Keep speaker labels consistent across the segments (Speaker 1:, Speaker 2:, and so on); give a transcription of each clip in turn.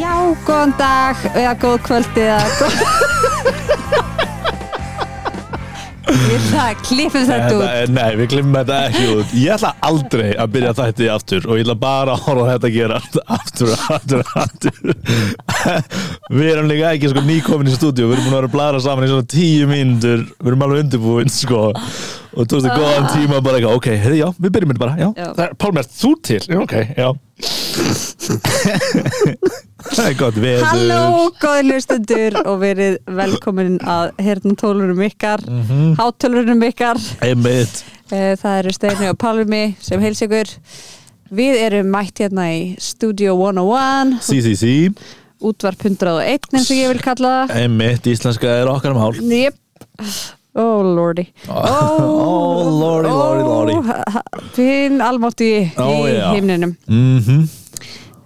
Speaker 1: Já, góðan dag eða góð kvöldi eða góð... Ég ætla að klippum þetta út.
Speaker 2: Þetta- Nei, við glemum þetta ekki út Ég ætla aldrei að byrja þætti aftur og ég ætla bara að horfa á þetta að gera aftur, aftur, aftur Við erum líka ekki sko nýkomin í stúdíu, við erum búin að vera að blara saman í svona tíu mínútur, við erum alveg undirbúin sko, og þú veist að góðan tíma bara eitthvað, ok, heyrðu, já, við byrjum þetta bara, já,
Speaker 1: Ah. Já.
Speaker 2: Það er- Pálmi, ert þú til? Já, ok, já Það er gott veður
Speaker 1: Halló, góði hlustendur og verið velkomin að hérna tólunum ykkar, mm hátölunum ykkar.
Speaker 2: Einmitt
Speaker 1: Eh, Það eru Steini og Pálmi sem heils ykkur. Við erum mætt hérna í Studio 101,
Speaker 2: Sí, sí, sí,
Speaker 1: útvarp 101 eins og ég vil kalla það.
Speaker 2: einmitt, íslenska er okkar mál
Speaker 1: Jep. Oh lordy oh,
Speaker 2: Oh, lordy, lordy, lordy. Oh,
Speaker 1: Þinn almátti
Speaker 2: Ó,
Speaker 1: í
Speaker 2: já.
Speaker 1: heimninum
Speaker 2: Mhm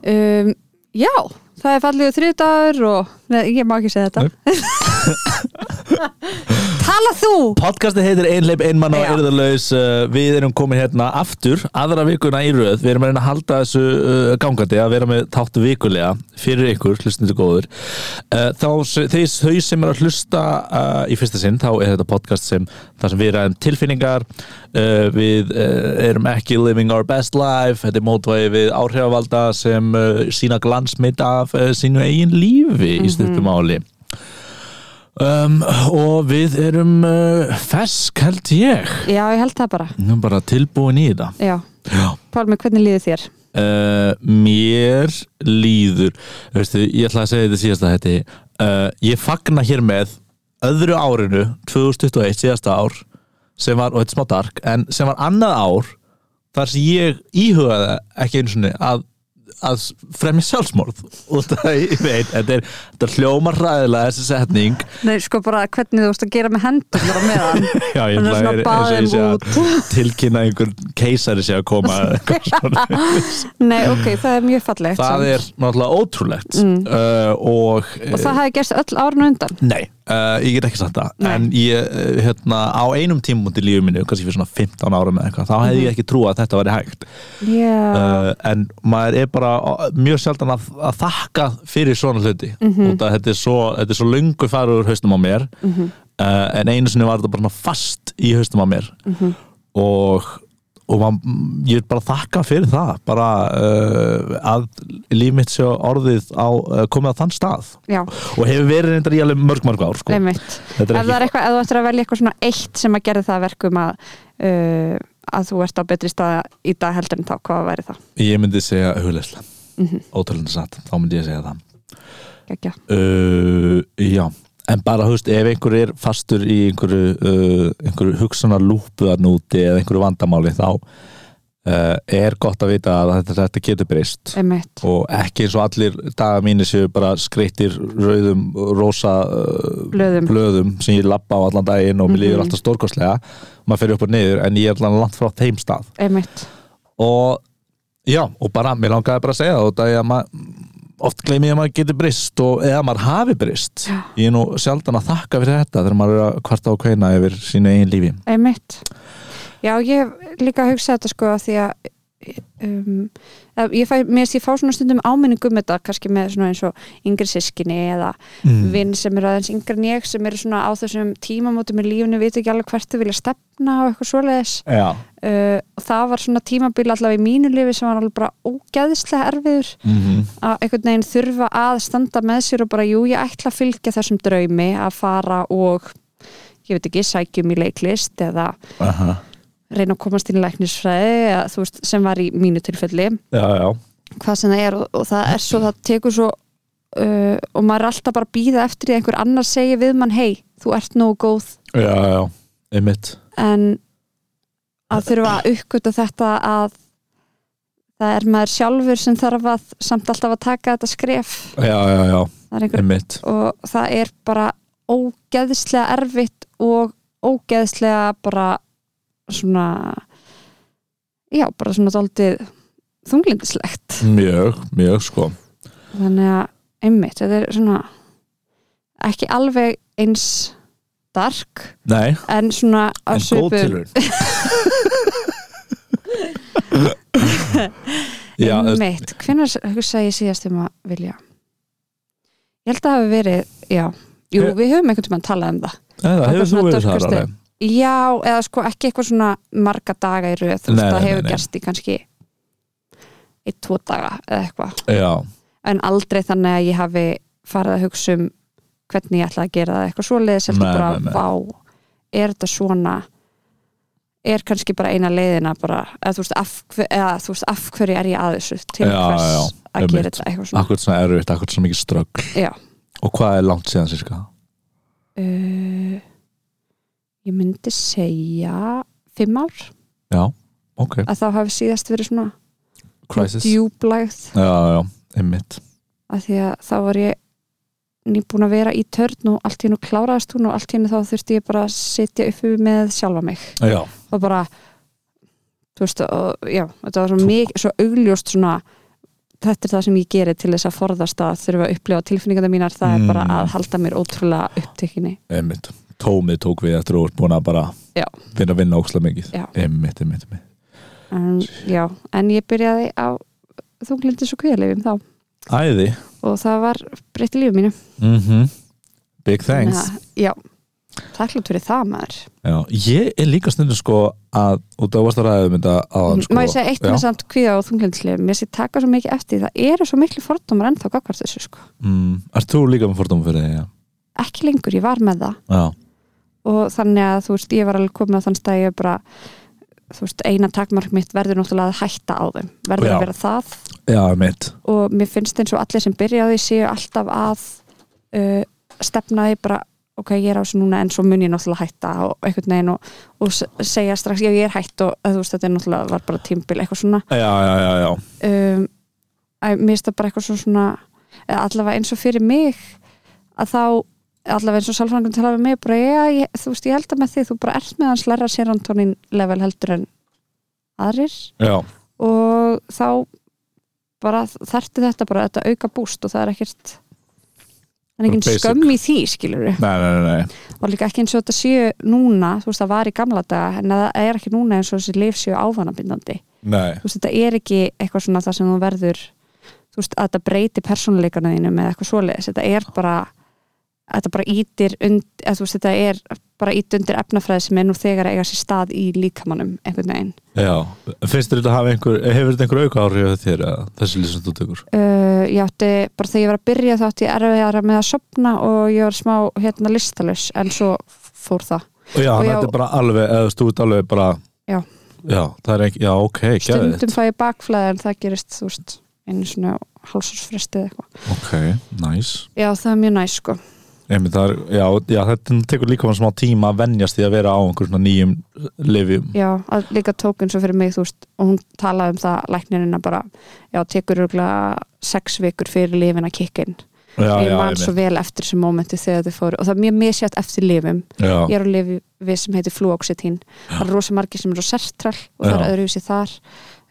Speaker 1: um, Já, það er fallegu þriðdagur og Nei, ég má ekki segja þetta Tala þú
Speaker 2: Podcastið heitir Einleip, einmann og
Speaker 1: Já.
Speaker 2: erðarlaus uh, Við erum komin hérna aftur aðra vikuna í röð, við erum að reyna að halda þessu uh, gangandi að vera með þáttu vikulega fyrir ykkur, hlustundu góður uh, þá, þeir, þau sem er að hlusta uh, í fyrsta sinn, þá er þetta podcast sem þar sem við ræðum tilfinningar uh, við uh, erum ekki living our best life, þetta er mótvæði við áhrifavalda sem uh, sína glansmynd af uh, sínu eigin lífi í stuttum áli Um, og við erum uh, fesk held ég
Speaker 1: Já, ég held það bara
Speaker 2: Nú bara tilbúin í þetta
Speaker 1: Já,
Speaker 2: Já.
Speaker 1: Pálmi, hvernig líður þér?
Speaker 2: uh, Mér líður Veistu, Ég ætla að segja þetta síðasta hætti uh, Ég fagna hér með öðru árinu 2021 síðasta ár sem var, og þetta er smá dark en sem var annað ár þar sem ég íhugaði ekki einu svona að að fremja sjálfsmorð og það ég veit, þetta er, þetta er hljómar ræðilega þessi setning
Speaker 1: Nei, sko bara hvernig þú veist að gera með hendur bara meðan
Speaker 2: Já, ég
Speaker 1: Hann er
Speaker 2: ætla
Speaker 1: svona
Speaker 2: að-
Speaker 1: að baða
Speaker 2: eins og ég sé
Speaker 1: þeim
Speaker 2: að tilkynna einhvern keisari sé að koma eða eitthvað svona.
Speaker 1: Nei, ok, það er mjög fallegt
Speaker 2: það
Speaker 1: samt.
Speaker 2: er náttúrulega ótrúlegt uh, og,
Speaker 1: Mm. Og það hefði gerst öll árun undan
Speaker 2: Nei, uh, ég get ekki sagt það
Speaker 1: Nei.
Speaker 2: en ég, uh, hérna, á einum tímum til lífið mínu, kannski fyrir svona 15 árum eða eitthvað, þá hefði
Speaker 1: Mhm.
Speaker 2: ég ekki trúað að þetta væri hægt
Speaker 1: Já,
Speaker 2: uh, en maður er bara uh, mjög sjaldan að, að þakka fyrir svona hluti
Speaker 1: Mhm.
Speaker 2: út að þetta er svo, þetta er svo löngu farið úr haustum á mér uh, en einu sinni var þetta bara svona fast í haustum á mér
Speaker 1: Mhm.
Speaker 2: og, og man, ég vil bara þakka fyrir það bara uh, að líf mitt sé orðið á, uh, komið á þann stað
Speaker 1: já,
Speaker 2: og hefur verið reyndar í alveg mörg mörg ár sko.
Speaker 1: einmitt
Speaker 2: Þetta
Speaker 1: ef það er eitthvað, ef þú ættir að velja eitthvað svona eitt sem að gera það að verkum að uh, að þú ert á betri staða í dag heldur en þá, hvað væri það?
Speaker 2: ég myndi segja hugleysla mm
Speaker 1: Mhm.
Speaker 2: -hmm. ótrúlega satt, þá myndi ég segja það
Speaker 1: Gekja.
Speaker 2: uh, já en bara hugst, ef einhver er fastur í einhverju, uh, einhverju hugsanar lúpuðarnúti eða einhverju vandamáli þá uh, er gott að vita að þetta, þetta getur breyst
Speaker 1: Einmitt.
Speaker 2: og ekki eins og allir dagar mínir séu bara skreittir rauðum rosa uh,
Speaker 1: Blöðum.
Speaker 2: blöðum sem ég labba á allan daginn og mér líður
Speaker 1: Mhm.
Speaker 2: alltaf stórkostlega maður fyrir upp og niður en ég er allan langt frá þeim stað
Speaker 1: Einmitt.
Speaker 2: og já, og bara, mér langaði bara að segja það og það er að maður oft gleymi ég að maður getur brist og eða maður hafi brist
Speaker 1: Já.
Speaker 2: ég er nú sjaldan að þakka fyrir þetta þegar maður er að kvarta og kveina yfir sínu eigin lífi
Speaker 1: Einmitt. Já, ég hef líka hugsað þetta sko að því að um, að ég fæ, mér sé fá svona stundum áminningum þetta kannski með svona eins og yngri sískinni eða
Speaker 2: Mm.
Speaker 1: vinn sem eru aðeins yngri en ég sem eru svona á þessum tímamótum í lífinu, veit ekki alveg hvert þau vilja stefna og eitthvað svoleiðis
Speaker 2: já,
Speaker 1: uh, og það var svona tímabil allavega í mínu lifi sem var alveg bara ógæðislega erfiður
Speaker 2: mm
Speaker 1: að einhvern veginn þurfa að standa með sér og bara jú ég ætla að fylgja þessum draumi að fara og ég veit ekki sækjum í leiklist eða
Speaker 2: Aha.
Speaker 1: reyna að komast inn í læknisfræði eða, þú veist, sem var í mínu tilfelli
Speaker 2: já, já
Speaker 1: hvað sem það er og, og það er svo það tekur svo uh, og maður er alltaf bara að býða eftir því að einhver annar segi við mann hei þú ert nógu góð
Speaker 2: já, já, einmitt
Speaker 1: en að þurfa að uppgöta þetta að það er maður sjálfur sem þarf að samt alltaf að taka þetta skref
Speaker 2: já, já, já,
Speaker 1: það er einhver,
Speaker 2: einmitt
Speaker 1: og það er bara ógeðslega erfitt og ógeðslega bara svona já, bara svona daldið þunglindislegt
Speaker 2: mjög, mjög sko
Speaker 1: þannig að einmitt, þetta er svona ekki alveg eins dark,
Speaker 2: nei,
Speaker 1: en svona á
Speaker 2: en góð
Speaker 1: svipuðu-
Speaker 2: tilhör já, þú veist,
Speaker 1: Einmitt, hvenær hugsaði ég síðast um að um vilja ég held að það hafi verið, já jú,
Speaker 2: Hef-
Speaker 1: við höfum einhvern tímann talað um það
Speaker 2: Eða,
Speaker 1: Þetta er
Speaker 2: hefur þú
Speaker 1: svona
Speaker 2: verið þar
Speaker 1: dökkasti.
Speaker 2: alveg?
Speaker 1: Já, eða sko ekki eitthvað svona marga daga í röð, þú
Speaker 2: Nei,
Speaker 1: veist, það
Speaker 2: nei,
Speaker 1: hefur
Speaker 2: nei, nei.
Speaker 1: gerst í kannski eitt, tvo daga eða eitthvað,
Speaker 2: Já,
Speaker 1: en aldrei þannig að ég hafi farið að hugsa um hvernig ég ætla að gera það eitthvað svoleiðis heldur
Speaker 2: Nei,
Speaker 1: bara
Speaker 2: nei, nei.
Speaker 1: vá, er þetta svona er kannski bara eina leiðina bara, eða þú veist, af, hver- eða, þú veist af hverju er ég að þessu til
Speaker 2: Já,
Speaker 1: hvers
Speaker 2: já,
Speaker 1: að
Speaker 2: einmitt.
Speaker 1: gera þetta eitthvað svona
Speaker 2: akkur svona erfitt, akkur svona mikið ströggl
Speaker 1: Já.
Speaker 2: Og hvað er langt síðan sirka?
Speaker 1: uh, ég myndi segja fimm ár,
Speaker 2: Já, ok,
Speaker 1: að þá hafi síðast verið svona
Speaker 2: crisis Já,
Speaker 1: djúblægð
Speaker 2: já, einmitt
Speaker 1: af því að þá var ég nýbúin að vera í törn og allt í hennu kláraðist hún og allt í hennu þá þurfti ég bara að sitja uppi með sjálfa mig
Speaker 2: Já,
Speaker 1: og bara þú veist, og, já, þetta var svo, mik, svo augljóst svona þetta er það sem ég geri til þess að forðast að þurfa að upplifa tilfinningarna mínar, það
Speaker 2: Mm.
Speaker 1: er bara að halda mér ótrúlega upptekinni
Speaker 2: einmitt Tómið tók við eftir og vart búin að bara
Speaker 1: Já.
Speaker 2: vinna vinna ókslega mikið
Speaker 1: Já.
Speaker 2: Einmitt, einmitt, einmitt
Speaker 1: en, já, en ég byrjaði á þunglindis og kvíðalefum þá
Speaker 2: Æði
Speaker 1: og það var breytti lífið mínu
Speaker 2: mm Big thanks
Speaker 1: Þannig að- já, þakklátt fyrir það maður
Speaker 2: Já, ég er líka stundum sko að, og það varst að ræða um þetta áðan sko
Speaker 1: Mm, má ég segja eitt
Speaker 2: já.
Speaker 1: með samt kvíða og þunglindislega mér sé taka svo mikið eftir því, það eru svo miklu fordómar ennþá gagvart þessu sko
Speaker 2: mm, Ert þú líka með fordóma fyrir því? Já,
Speaker 1: ekki lengur, ég var með það
Speaker 2: já,
Speaker 1: og þannig að þú veist, ég var alveg komin á þann stæði ég bara, þú veist, eina takmark mitt verður náttúrulega að hætta á þeim verður
Speaker 2: Já.
Speaker 1: að vera það
Speaker 2: já einmitt
Speaker 1: og mér finnst eins og allir sem byrjaði séu alltaf að uh, stefna því bara ok, ég er á þessu núna en svo mun ég náttúrulega hætta og einhvern veginn og, og s- segja strax já, ég er hætt og að, þú veist, þetta er náttúrulega var bara tímbil, eitthvað svona
Speaker 2: Já, já, já, já
Speaker 1: um, að mér finnst það bara eitthvað svo svona eða allavega eins og fyrir mig að þá allavega eins og sálfræðingum talaði við mig bara, já, ég, þú veist, ég held að með því þú bara ert með hans læra serotonin level heldur en aðrir
Speaker 2: Já,
Speaker 1: og þá bara þarfti þetta bara þetta auka búst og það er ekkert það er engin
Speaker 2: Basic.
Speaker 1: skömm í því skilur
Speaker 2: nei, nei, nei, nei.
Speaker 1: og líka ekki eins og þetta séu núna þú veist það var í gamla daga en það er ekki núna eins og þessi leif séu ávanabindandi
Speaker 2: nei.
Speaker 1: þú veist, þetta er ekki eitthvað svona það sem þú verður þú veist, að þetta breyti persónuleikana þínu með eitthvað svoleiðis, þetta er bara þetta bara ítir undir að, þú veist, þetta er bara ít undir efnafræði sem er nú þegar að eiga sér stað í líkamannum einhvern veginn
Speaker 2: Já, finnst þér þetta hafa einhver, hefur þetta einhver auka áhrif á þér eða þessi lýsum þú tekur?
Speaker 1: uh, ég átti, bara þegar ég var að byrja þá átti ég erfiðara með að sopna og ég var smá hérna listalus, en svo fór það
Speaker 2: Og já,
Speaker 1: Og já-
Speaker 2: þetta er bara alveg, eða stúið alveg bara
Speaker 1: Já.
Speaker 2: Já, það er ekki, já, ok, geðið
Speaker 1: stundum fæ ég bakflæði en það gerist, þú veist einu svona hálsarsfrestið eitthvað
Speaker 2: Ok, nice
Speaker 1: já, það er mjög næs sko
Speaker 2: Emi, það er, já, já, þetta tekur líka mann smá tíma að venjast því að vera á einhver svona nýjum livjum
Speaker 1: Já, að líka tók eins og fyrir mig þú veist, og hún talaði um það læknirina bara, já, tekur örgulega sex vikur fyrir lifin að kikka inn
Speaker 2: Já,
Speaker 1: ég
Speaker 2: já,
Speaker 1: man svo
Speaker 2: einmitt.
Speaker 1: vel eftir þessu mómenti þegar þau fóru og það er mjög misjátt eftir lifum
Speaker 2: já,
Speaker 1: ég er á lifi við sem heitir fluoxetín það er rosa margir sem eru á sertral og það
Speaker 2: Já.
Speaker 1: er öðruvísi þar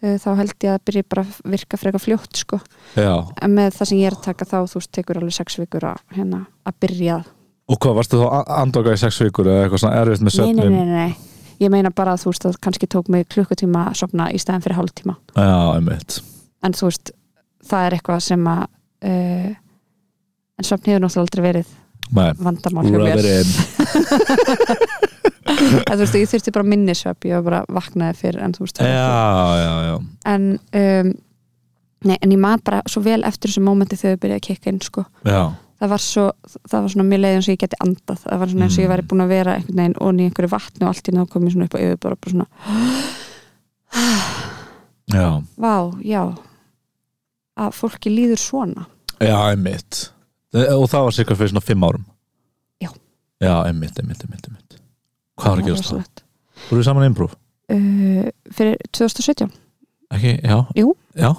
Speaker 1: Eh, þá held ég að það byrja bara að virka frekar fljótt sko.
Speaker 2: já
Speaker 1: en með það sem ég er að taka þá þú veist, tekur alveg sex vikur að, hérna, að byrja
Speaker 2: Og hvað, varstu þá að andokað í sex vikur eða eitthvað svona erfitt með
Speaker 1: nei, nei,
Speaker 2: söfnum?
Speaker 1: nei, nei, nei, ég meina bara að þú veist að kannski tók mig klukkutíma að sopna í staðan fyrir hálftíma
Speaker 2: Já, einmitt
Speaker 1: en þú veist, það er eitthvað sem að uh, en svefn hefur náttúrulega aldrei verið
Speaker 2: Nei,
Speaker 1: vandamál hjá
Speaker 2: úr að
Speaker 1: mér
Speaker 2: vera inn
Speaker 1: en þú veist, ég þurfti bara minni svefn ég var bara vaknaði fyrr en þú veist
Speaker 2: Já,
Speaker 1: það var ekki-
Speaker 2: já, já
Speaker 1: en um, nei, en ég man bara svo vel eftir þessu mómenti þegar ég byrjaði að kikka inn sko.
Speaker 2: Já,
Speaker 1: það var svo, það var svona mjög leið eins og ég geti andað, það var svona eins
Speaker 2: Mm.
Speaker 1: og ég væri búin að vera einhvern veginn og í einhverju vatni og allt í náðu komið svona upp á yfir bara, bara svona,
Speaker 2: já,
Speaker 1: vá, já að fólki líður svona
Speaker 2: já, einmitt E- Og það var cirka fyrir svona fimm árum
Speaker 1: Já.
Speaker 2: Já, einmitt, einmitt, einmitt, einmitt Hvað var að gerast
Speaker 1: það?
Speaker 2: það?
Speaker 1: var rosalegt.
Speaker 2: Þú eru saman improv?
Speaker 1: Uh, fyrir 2017
Speaker 2: Ekki, já
Speaker 1: Jú.
Speaker 2: Já,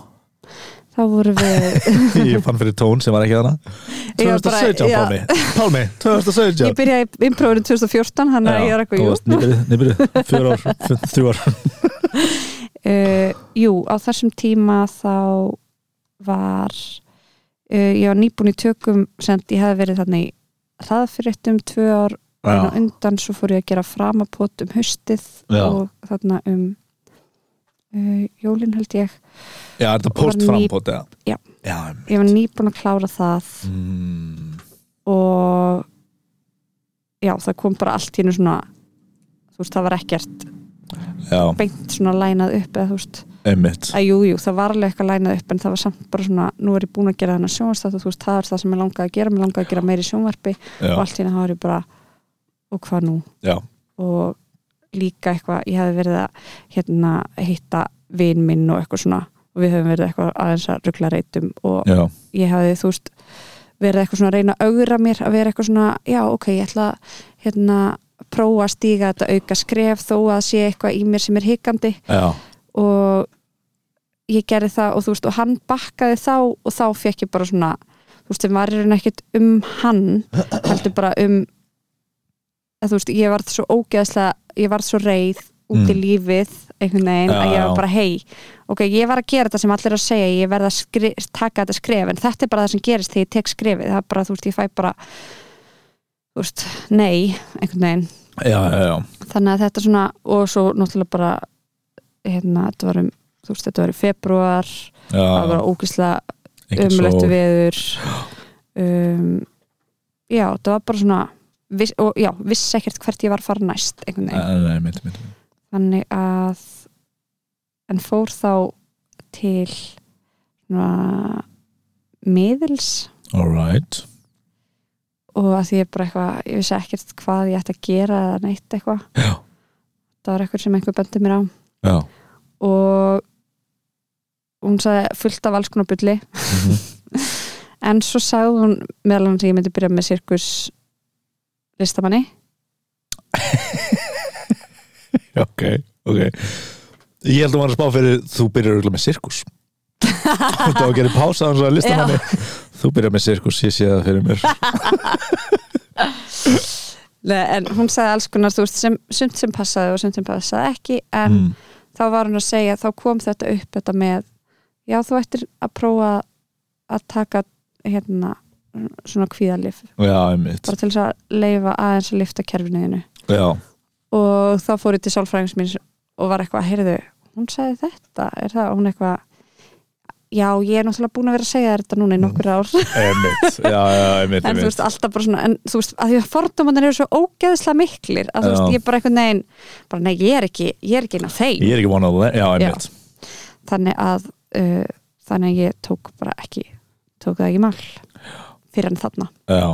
Speaker 1: þá vorum við
Speaker 2: ég fann fyrir tón sem var ekki þarna
Speaker 1: Ég var bara-
Speaker 2: 2017,
Speaker 1: já.
Speaker 2: Pálmi Pálmi, 2017
Speaker 1: Ég byrjaði í improvinu 2014 hann að ég er eitthvað, jú
Speaker 2: Nýbyrðið, nýbyrðið, fjör ár, f- þrjú ár
Speaker 1: uh, Jú, á þessum tíma þá var uh, ég var nýbúin í tökum sem ég hefði verið þannig hraðfyrirtum tvö ár en á
Speaker 2: Já,
Speaker 1: undan svo fór ég að gera framapot um haustið
Speaker 2: Já.
Speaker 1: og þarna um uh, jólin held ég
Speaker 2: já er þetta
Speaker 1: Var ný-
Speaker 2: postframbót eða?
Speaker 1: Já.
Speaker 2: Já, einmitt.
Speaker 1: ég var nýbúin að klára það
Speaker 2: Mm,
Speaker 1: og já, það kom bara allt hérna svona þú veist, það var ekkert
Speaker 2: já,
Speaker 1: beint svona lænað upp eða þú veist,
Speaker 2: einmitt
Speaker 1: að jú, jú, það var alveg eitthvað lænað upp en það var samt bara svona, nú er ég búin að gera þennan sjónvarsþátt og þú veist, það er það sem ég langaði að gera mér langaði að gera meiri sjónvarpi og
Speaker 2: já,
Speaker 1: allt hérna þá er ég bara og hvað nú
Speaker 2: já,
Speaker 1: og líka eitthvað, ég hefði verið að hérna hitta vin minn og eitthvað svona og við höfum verið eitthvað aðeins að ruggla reytum og
Speaker 2: já,
Speaker 1: ég hefði þú veist verið eitthvað svona að reyna að augra mér að vera eitthvað svona, já ok, ég ætla að, hérna prófa að stíga þetta auka skref þó að sé eitthvað í mér sem er hikandi
Speaker 2: já,
Speaker 1: og ég gerði það og þú veist og hann bakkaði þá og þá fekk ég bara svona þú veist sem var í raun ekkert um hann heldur bara um að þú veist ég varð svo ógeðslega ég varð svo reið út í
Speaker 2: Mm.
Speaker 1: lífið einhvern veginn
Speaker 2: Já,
Speaker 1: að ég
Speaker 2: já.
Speaker 1: var bara hei ok, ég var að gera þetta sem allir er að segja ég verð að skri, taka þetta skref en þetta er bara það sem gerist þegar ég tek skrefið það er bara þú veist ég fæ bara þú veist, nei, einhvern veginn
Speaker 2: já, já, já.
Speaker 1: þannig að þetta svona og svo náttúrulega bara hérna, þetta var um, þú veist, þetta var í februar það var
Speaker 2: já.
Speaker 1: ógislega
Speaker 2: Engin
Speaker 1: umlöttu
Speaker 2: sól.
Speaker 1: veður um, já, þetta var bara svona viss, og já, vissi ekkert hvert ég var að fara næst einhvern veginn,
Speaker 2: Nei, nei, mitt, mitt, mitt.
Speaker 1: þannig að en fór þá til svona miðils
Speaker 2: All right
Speaker 1: og að því ég bara eitthvað, ég vissi ekkert hvað ég ætti að gera eða neitt eitthvað
Speaker 2: Já.
Speaker 1: það var eitthvað sem einhver bendi mér á
Speaker 2: Já,
Speaker 1: og hún sagði fullt af alls konar bulli en svo sagði hún meðal annars að ég myndi byrja með sirkus listamanni
Speaker 2: ok, ok Ég held að maður að spá fyrir þú byrjar auðvitað með sirkus Þú ert á að gera pása þannig að lista manni Þú byrjar með sirkus, ég sé það fyrir mér
Speaker 1: Nei, en hún sagði alls konar þú veist, sem, sumt sem passaði og sumt sem passaði ekki en
Speaker 2: mm.
Speaker 1: þá var hún að segja þá kom þetta upp þetta með já þú ættir að prófa að taka hérna svona kvíðalif
Speaker 2: Já, einmitt
Speaker 1: bara til þess að leifa aðeins að lifta kerfinu þínu
Speaker 2: Já,
Speaker 1: og þá fór ég til sálfræðings mín og var eitthvað, heyrðu, hún sagði þetta er það, hún eitthvað já, ég er náttúrulega búin að vera að segja þér þetta núna í
Speaker 2: Mm.
Speaker 1: nokkur ár,
Speaker 2: einmitt, já, já, einmitt,
Speaker 1: en þú
Speaker 2: einmitt.
Speaker 1: veist alltaf bara svona, en þú veist, að því að fordómanir eru svo ógeðslega miklir, að þú
Speaker 2: Já.
Speaker 1: veist, ég bara eitthvað negin, bara nei, ég er ekki, ég er ekki inn á þeim,
Speaker 2: Ég er ekki vonað það, já, einmitt
Speaker 1: þannig að uh, þannig að ég tók bara ekki tók það ekki í mál fyrir enn þarna
Speaker 2: Já,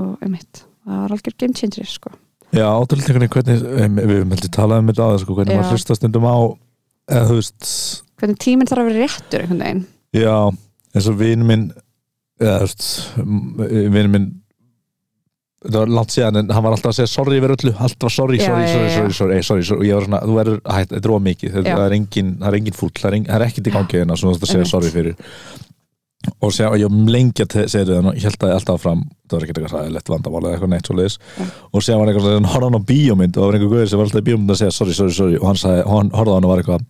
Speaker 1: og um mitt, það var algjör game changer sko.
Speaker 2: já átöldingarnir hvernig em, Við höfum heldur talað um þetta aðeins sko, Hvernig
Speaker 1: Já.
Speaker 2: maður hlusta stundum á eða, Þú veist,
Speaker 1: hvernig tíminn þarf að vera réttur einhvern veginn,
Speaker 2: já eins og vinn minn eða, þú veist, vinn minn þetta var langt síðan en hann var alltaf að segja sorry yfir öllu, allt var sorry,
Speaker 1: Já,
Speaker 2: sorry,
Speaker 1: já,
Speaker 2: sorry,
Speaker 1: já.
Speaker 2: sorry, sorry, sorry, sorry og ég var svona, þú verður, hætt, þetta er ómikið
Speaker 1: Já.
Speaker 2: það er engin, það er engin fúll, það er, engin, það er ekkert í gangi hérna sem þú þarft að segja
Speaker 1: Einmitt.
Speaker 2: sorry fyrir og sjá, ég var lengi að te- segja þetta og ég held að ég alltaf fram, það var ekkert eitthvað ræðilegt vandamál eða eitthvað neitt svo leiðis
Speaker 1: Já.
Speaker 2: og síðan var eitthvað, svona, hann horfði hann á bíómynd og það var einhver guður sem var alltaf í bíómynd að segja sorry, sorry, sorry og hann, sagði, hann horfði á hann og var eitthvað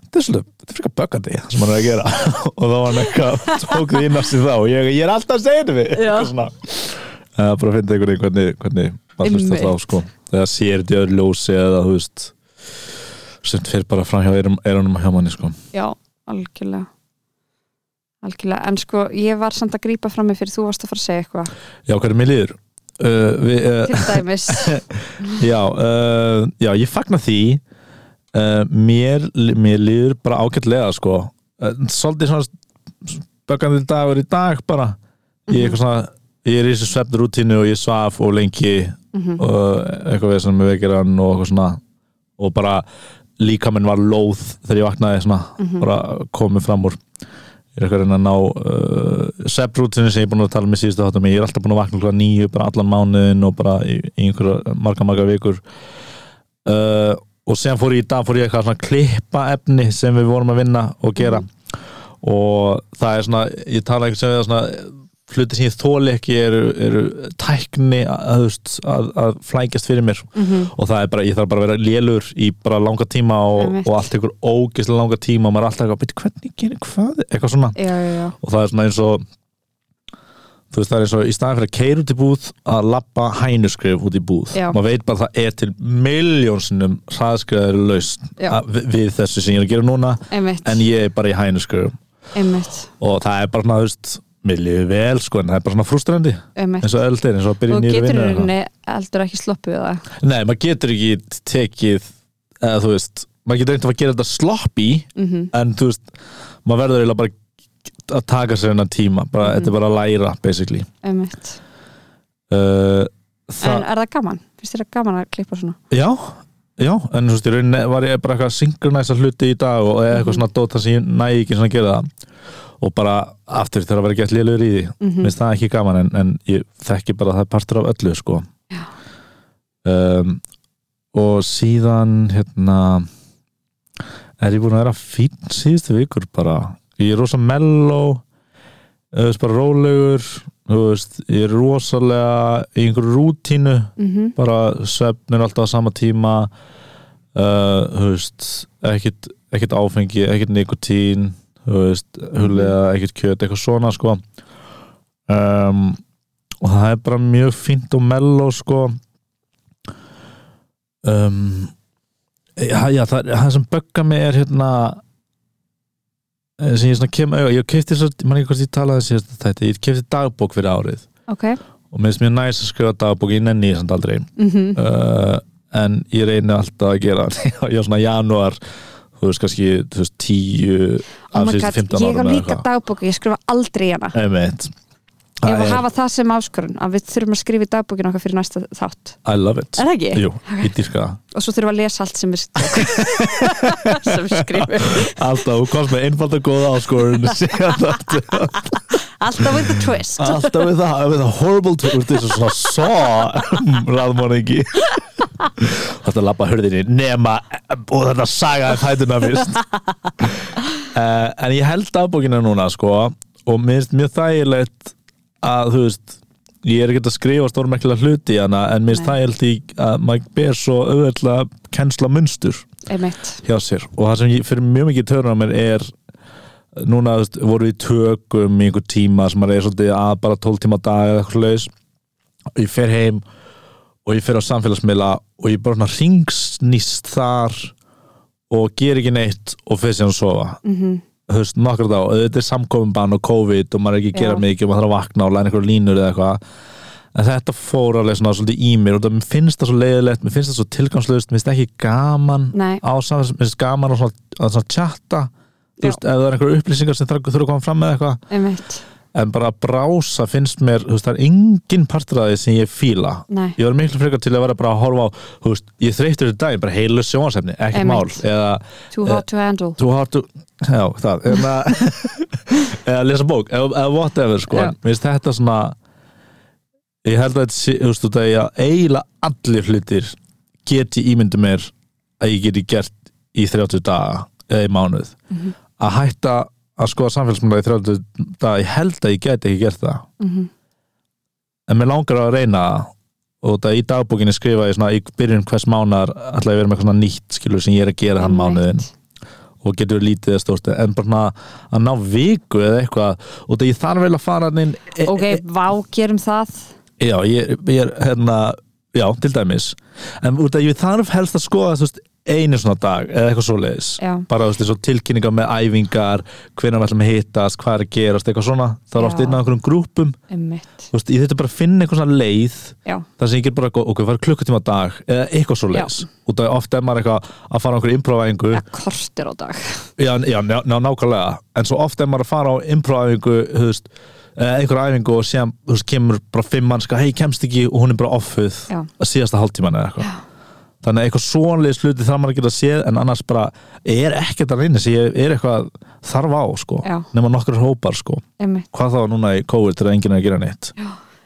Speaker 2: þetta er svolítið, þetta er frekar böggandi það sem hann er að gera og þá var hann eitthvað tók því innast í þá og ég, ég er alltaf að segja þetta við
Speaker 1: Já.
Speaker 2: Eitthvað svona. Það er bara að finna einhvern veginn hvernig, hvernig maður hlustar þá
Speaker 1: Einmitt.
Speaker 2: sko eða sér þetta í öðru ljósi eða þú veist sem fyrir bara fram hjá eyrunum hjá manni sko
Speaker 1: Já, algjörlega Algjörlega, en sko ég var samt að grípa fram mig fyrir þú varst að fara að segja eitthvað
Speaker 2: já hvernig mér líður uh, við, uh,
Speaker 1: til dæmis
Speaker 2: já, uh, já ég fagna því uh, mér, mér líður bara ágætlega sko uh, svolítið svona bökandi dagur í dag bara ég, er eitthvað svona, ég er í þessu svefnrútínu og ég svaf og lengi
Speaker 1: Mhm.
Speaker 2: og eitthvað við sem við vekirann og eitthvað svona og bara líkaminn var lóð þegar ég vaknaði svona, bara komið fram úr ég er eitthvað að reyna að ná uh, sepprútinu sem ég er búin að tala með síðustu þáttum ég er alltaf búin að vakna klokka nýju, bara allan mánuðin og bara í, í einhverja marga marga vikur uh, og sem fór ég í dag fór ég eitthvað svona að klippa efni sem við vorum að vinna og gera og það er svona, ég tala eitthvað sem við það svona hluti sem ég þóli ekki eru, eru tækni að, að, þú veist, að, að flækjast fyrir mér
Speaker 1: Mhm.
Speaker 2: og það er bara, ég þarf bara að vera lélur í bara langa tíma og,
Speaker 1: Einmitt.
Speaker 2: og allt ykkur ógislega langa tíma og maður er alltaf eitthvað, "Bíddu, hvernig gerir hvað eitthvað svona,
Speaker 1: Já, já, já
Speaker 2: og það er svona eins og þú veist, það er eins og í staðan fyrir að keira út í búð að lappa hænuskrif út í búð
Speaker 1: Já.
Speaker 2: maður veit bara að það er til miljónsinnum hraðskriðar lausn
Speaker 1: Já.
Speaker 2: að- við, við þessu sem ég er að gera núna
Speaker 1: Einmitt,
Speaker 2: en ég er bara í hænuskrifum
Speaker 1: einmitt
Speaker 2: og það er bara svona, þú veist mér lífi vel sko en það er bara svona frustrandi
Speaker 1: um
Speaker 2: eins og eld er eins og að byrja
Speaker 1: og
Speaker 2: í nýri
Speaker 1: getur
Speaker 2: vinnu eða eitthvað.
Speaker 1: henni heldur ekki sloppið við það
Speaker 2: Nei, maður getur ekki tekið eða þú veist, maður getur reynd að gera þetta sloppy
Speaker 1: mm
Speaker 2: en þú veist, maður verður eiginlega bara að taka sér hennar tíma bara,
Speaker 1: Mhm.
Speaker 2: þetta er bara að læra, basically uh,
Speaker 1: en
Speaker 2: það,
Speaker 1: er það gaman? finnst þér það gaman að klippa svona?
Speaker 2: já já, en þú veist, í rauninni var ég bara eitthvað að synkronæsa hluti í dag og eða
Speaker 1: Mhm.
Speaker 2: eitthvað svona dóta sem ég næ ekki svona að gera það og bara aftur þegar að vera gett lélugur í því
Speaker 1: Mm
Speaker 2: mm. minnst það ekki gaman en, en ég þekki bara að það er partur af öllu sko
Speaker 1: Já.
Speaker 2: um, og síðan hérna er ég búin að vera fín síðustu vikur bara ég er rosa mellow þú veist bara rólegur þú veist, ég er rosalega í einhverju rútínu
Speaker 1: -hmm.
Speaker 2: bara svefnir alltaf á sama tíma uh, þú veist ekkit, ekkit áfengi, ekkit nikotín þú veist, hulega ekkit kjöt, eitthvað svona sko um, og það er bara mjög fínt og mello sko um, já, já, það, það sem bögga mig er hérna eh, sem ég svona kem auðvitað, ég kefti svo, mann ekki hvort ég talaði síðast um þetta, ég kefti dagbók fyrir árið
Speaker 1: ok
Speaker 2: og mér finnst mjög næst að skrifa dagbók ég nenni ég samt aldrei
Speaker 1: mm
Speaker 2: uh, en ég reyni alltaf að gera ég er svona janúar þú veist kannski þú veist, tíu
Speaker 1: oh
Speaker 2: af
Speaker 1: my
Speaker 2: síðustu
Speaker 1: god,
Speaker 2: 15
Speaker 1: ég hef
Speaker 2: árum
Speaker 1: líka dagbók ég skrifa aldrei í hana
Speaker 2: Einmitt.
Speaker 1: ég hef
Speaker 2: Það
Speaker 1: að
Speaker 2: er-
Speaker 1: hafa það sem áskorun að við þurfum að skrifa í dagbókinu okkar fyrir næsta þátt
Speaker 2: I love it
Speaker 1: er það ekki?
Speaker 2: Jú, ég dýrka það
Speaker 1: og svo þurfum að lesa allt sem við sem við skrifum
Speaker 2: Alltaf, þú komst með einfalda góða áskorun síðan þetta
Speaker 1: alltaf with the twist
Speaker 2: Alltaf við það, við það horrible Þú ert eins og svona svo Raðmóningi Þetta lappa hurðinni nema Og þetta sagaði fætuna fyrst uh, En ég held afbókina núna sko Og mér finnst mjög þægilegt Að þú veist Ég er ekkert að skrifa stórmerkilega hluti í hana En mér finnst
Speaker 1: Nei.
Speaker 2: þægilegt í að maður ber svo auðvitað kennsla munstur
Speaker 1: einmitt
Speaker 2: hjá sér og það sem ég, fyrir mjög mikið törn á mér er núna þú veist, voru við í tökum í einhver tíma sem maður er svolítið að bara 12 tíma á dag eða eitthvað leis og ég fer heim og ég fer á samfélagsmiðla og ég bara svona ringsnýst þar og ger ekki neitt og fer sér að sofa
Speaker 1: mm
Speaker 2: þú veist, nokkra þá, auðvitað er samkofinbann og COVID og maður er ekki að gera
Speaker 1: Já.
Speaker 2: mikið og maður þarf að vakna og læna einhverju línur eða eitthvað en þetta fór alveg svona svolítið í mér og það mér finnst það svo leiðilegt, mér finnst það svo tilgangslöst mér finnst það ekki gaman
Speaker 1: Nei.
Speaker 2: á samfélags, mér finnst gaman að svona, að svona chatta þú
Speaker 1: Já.
Speaker 2: veist, ef það er einhverju upplýsingar sem þarf þurfa að koma fram með eitthvað
Speaker 1: einmitt
Speaker 2: en bara að brása finnst mér, þú veist, það er engin partur af því sem ég fíla
Speaker 1: Nei.
Speaker 2: ég var miklu frekar til að vera bara að horfa á þú veist, ég þreytur þetta dag, bara heilu sjónasefni ekkert mál,
Speaker 1: Einmitt.
Speaker 2: eða
Speaker 1: too hot to handle
Speaker 2: Too hard to Já, það Eða, eða lesa bók Eða, eða whatever, sko
Speaker 1: Já.
Speaker 2: Mér finnst þetta svona Ég held að þetta sé, þú veist, þú veist, að eiginlega allir hlutir geti ímyndu mér að ég geti gert í 30 daga eða í mánuð
Speaker 1: Mhm.
Speaker 2: að hætta að skoða samfélagsmynda í 30 daga ég held að ég geti ekki gert það
Speaker 1: mm -hmm.
Speaker 2: en mér langar að reyna það og það í dagbókinni skrifa ég svona í byrjun hvers mánar ætla ég að vera með eitthvað svona nýtt skilur sem ég er að gera hann mánuðin og getur verið lítið eða stórt en bara svona að ná viku eða eitthvað og það ég þarf vel að fara hann inn e,
Speaker 1: ok, vá, gerum það
Speaker 2: e, já, ég, ég er hérna já, til dæmis en út að ég þarf helst að skoða þú veist, einu svona dag eða eitthvað svoleiðis
Speaker 1: já,
Speaker 2: bara þú veist, eins og tilkynningar með æfingar hvenær við ætlum að hittast, hvað er að gerast eitthvað svona, það er
Speaker 1: Já.
Speaker 2: oft inn á einhverjum grúpum
Speaker 1: einmitt
Speaker 2: þú veist, ég þetta bara að finna eitthvað svona leið
Speaker 1: já,
Speaker 2: þar sem ég get bara, ok, fara klukkutíma á dag eða eitthvað svoleiðis, út að oft er maður eitthvað að fara á einhverju improvæðingu
Speaker 1: ja, kortir á dag
Speaker 2: Já, já ná, ná, nákvæmlega En svo oft er maður að fara á improæfingu þú veist, eða einhverja æfingu og síðan þú veist, kemur bara fimm mannska, hei, kemst ekki og hún er bara offuð
Speaker 1: Já.
Speaker 2: að síðasta hálftíman eða eitthvað
Speaker 1: Já.
Speaker 2: Þannig að eitthvað svonlega sluti þarf maður að geta séð en annars bara er ekkert að reyna sem ég er eitthvað þarf á sko
Speaker 1: Já.
Speaker 2: nema nokkur hópar sko
Speaker 1: einmitt
Speaker 2: Hvað þá núna í COVID þegar enginn er að gera neitt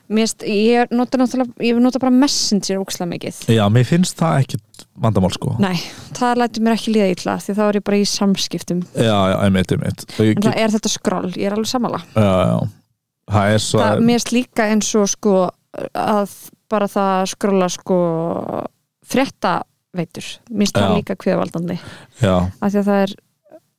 Speaker 1: Mist, ég nota náttúrulega, ég nota bara messenger ókslega mikið
Speaker 2: Já, mér finnst það ekkit vandamál sko
Speaker 1: Nei, það lætur mér ekki líða illa því þá er ég bara í samskiptum
Speaker 2: Já, já, einmitt, einmitt Ég
Speaker 1: en
Speaker 2: get-
Speaker 1: það er þetta skroll, ég er alveg sammála
Speaker 2: Já, já, það er svo
Speaker 1: það, mér erst líka eins og sko að bara það að skrolla sko frétta veitur mér erst það
Speaker 2: Já.
Speaker 1: líka kveðvaldandi
Speaker 2: Já,
Speaker 1: af því að það er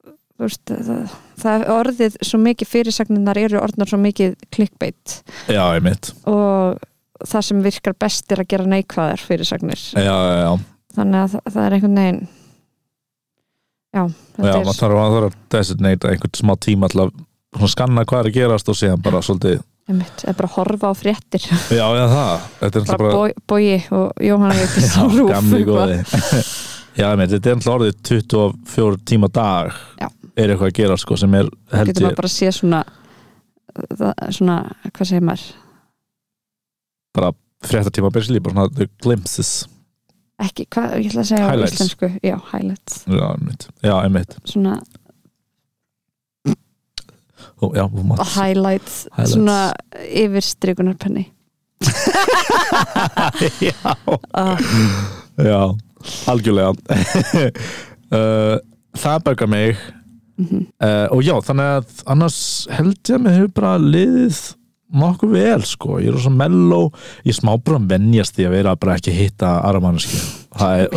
Speaker 1: þú veist, það, það er orðið svo mikið fyrirsagninar eru orðnar svo mikið clickbait
Speaker 2: já, einmitt
Speaker 1: og það sem virkar best er að gera neikvæðar fyrirsagnir
Speaker 2: Já, já, já
Speaker 1: þannig að það, það er einhvern veginn já,
Speaker 2: Já,
Speaker 1: þetta
Speaker 2: maður þarf, maður þarf að designate einhvern smá tíma til að svona skanna hvað er að gerast og síðan bara svolítið
Speaker 1: einmitt, eða bara horfa á fréttir
Speaker 2: já, já, það, þetta er
Speaker 1: bara,
Speaker 2: náttúrulega bara
Speaker 1: bara... Bogi og Jóhanna Vigdís á
Speaker 2: já,
Speaker 1: Rúf,
Speaker 2: gamli
Speaker 1: eitthvað.
Speaker 2: góði já, menn, þetta er náttúrulega orðið 24 tíma á dag
Speaker 1: Já.
Speaker 2: er eitthvað að gera sko sem er held
Speaker 1: getur
Speaker 2: ég
Speaker 1: maður bara að sé svona það, svona, hvað segir maður
Speaker 2: fréttatíma að byrja bara svona the glimpses
Speaker 1: ekki, hvað, ég ætla að segja á
Speaker 2: Highlights.
Speaker 1: íslensku já, highlights,
Speaker 2: já, einmitt, já, einmitt.
Speaker 1: svona
Speaker 2: Ó, já, þú mátt
Speaker 1: highlights,
Speaker 2: Highlights.
Speaker 1: svona yfir strikunarpenni
Speaker 2: já,
Speaker 1: Ah.
Speaker 2: já, algjörlega uh, það bergar mig
Speaker 1: mm -hmm.
Speaker 2: uh, og já, þannig að annars held ég að mér hefur bara liðið nokkuð vel sko, ég er svo melló ég er smá bara að venjast því að vera bara ekki að hitta aðra mannski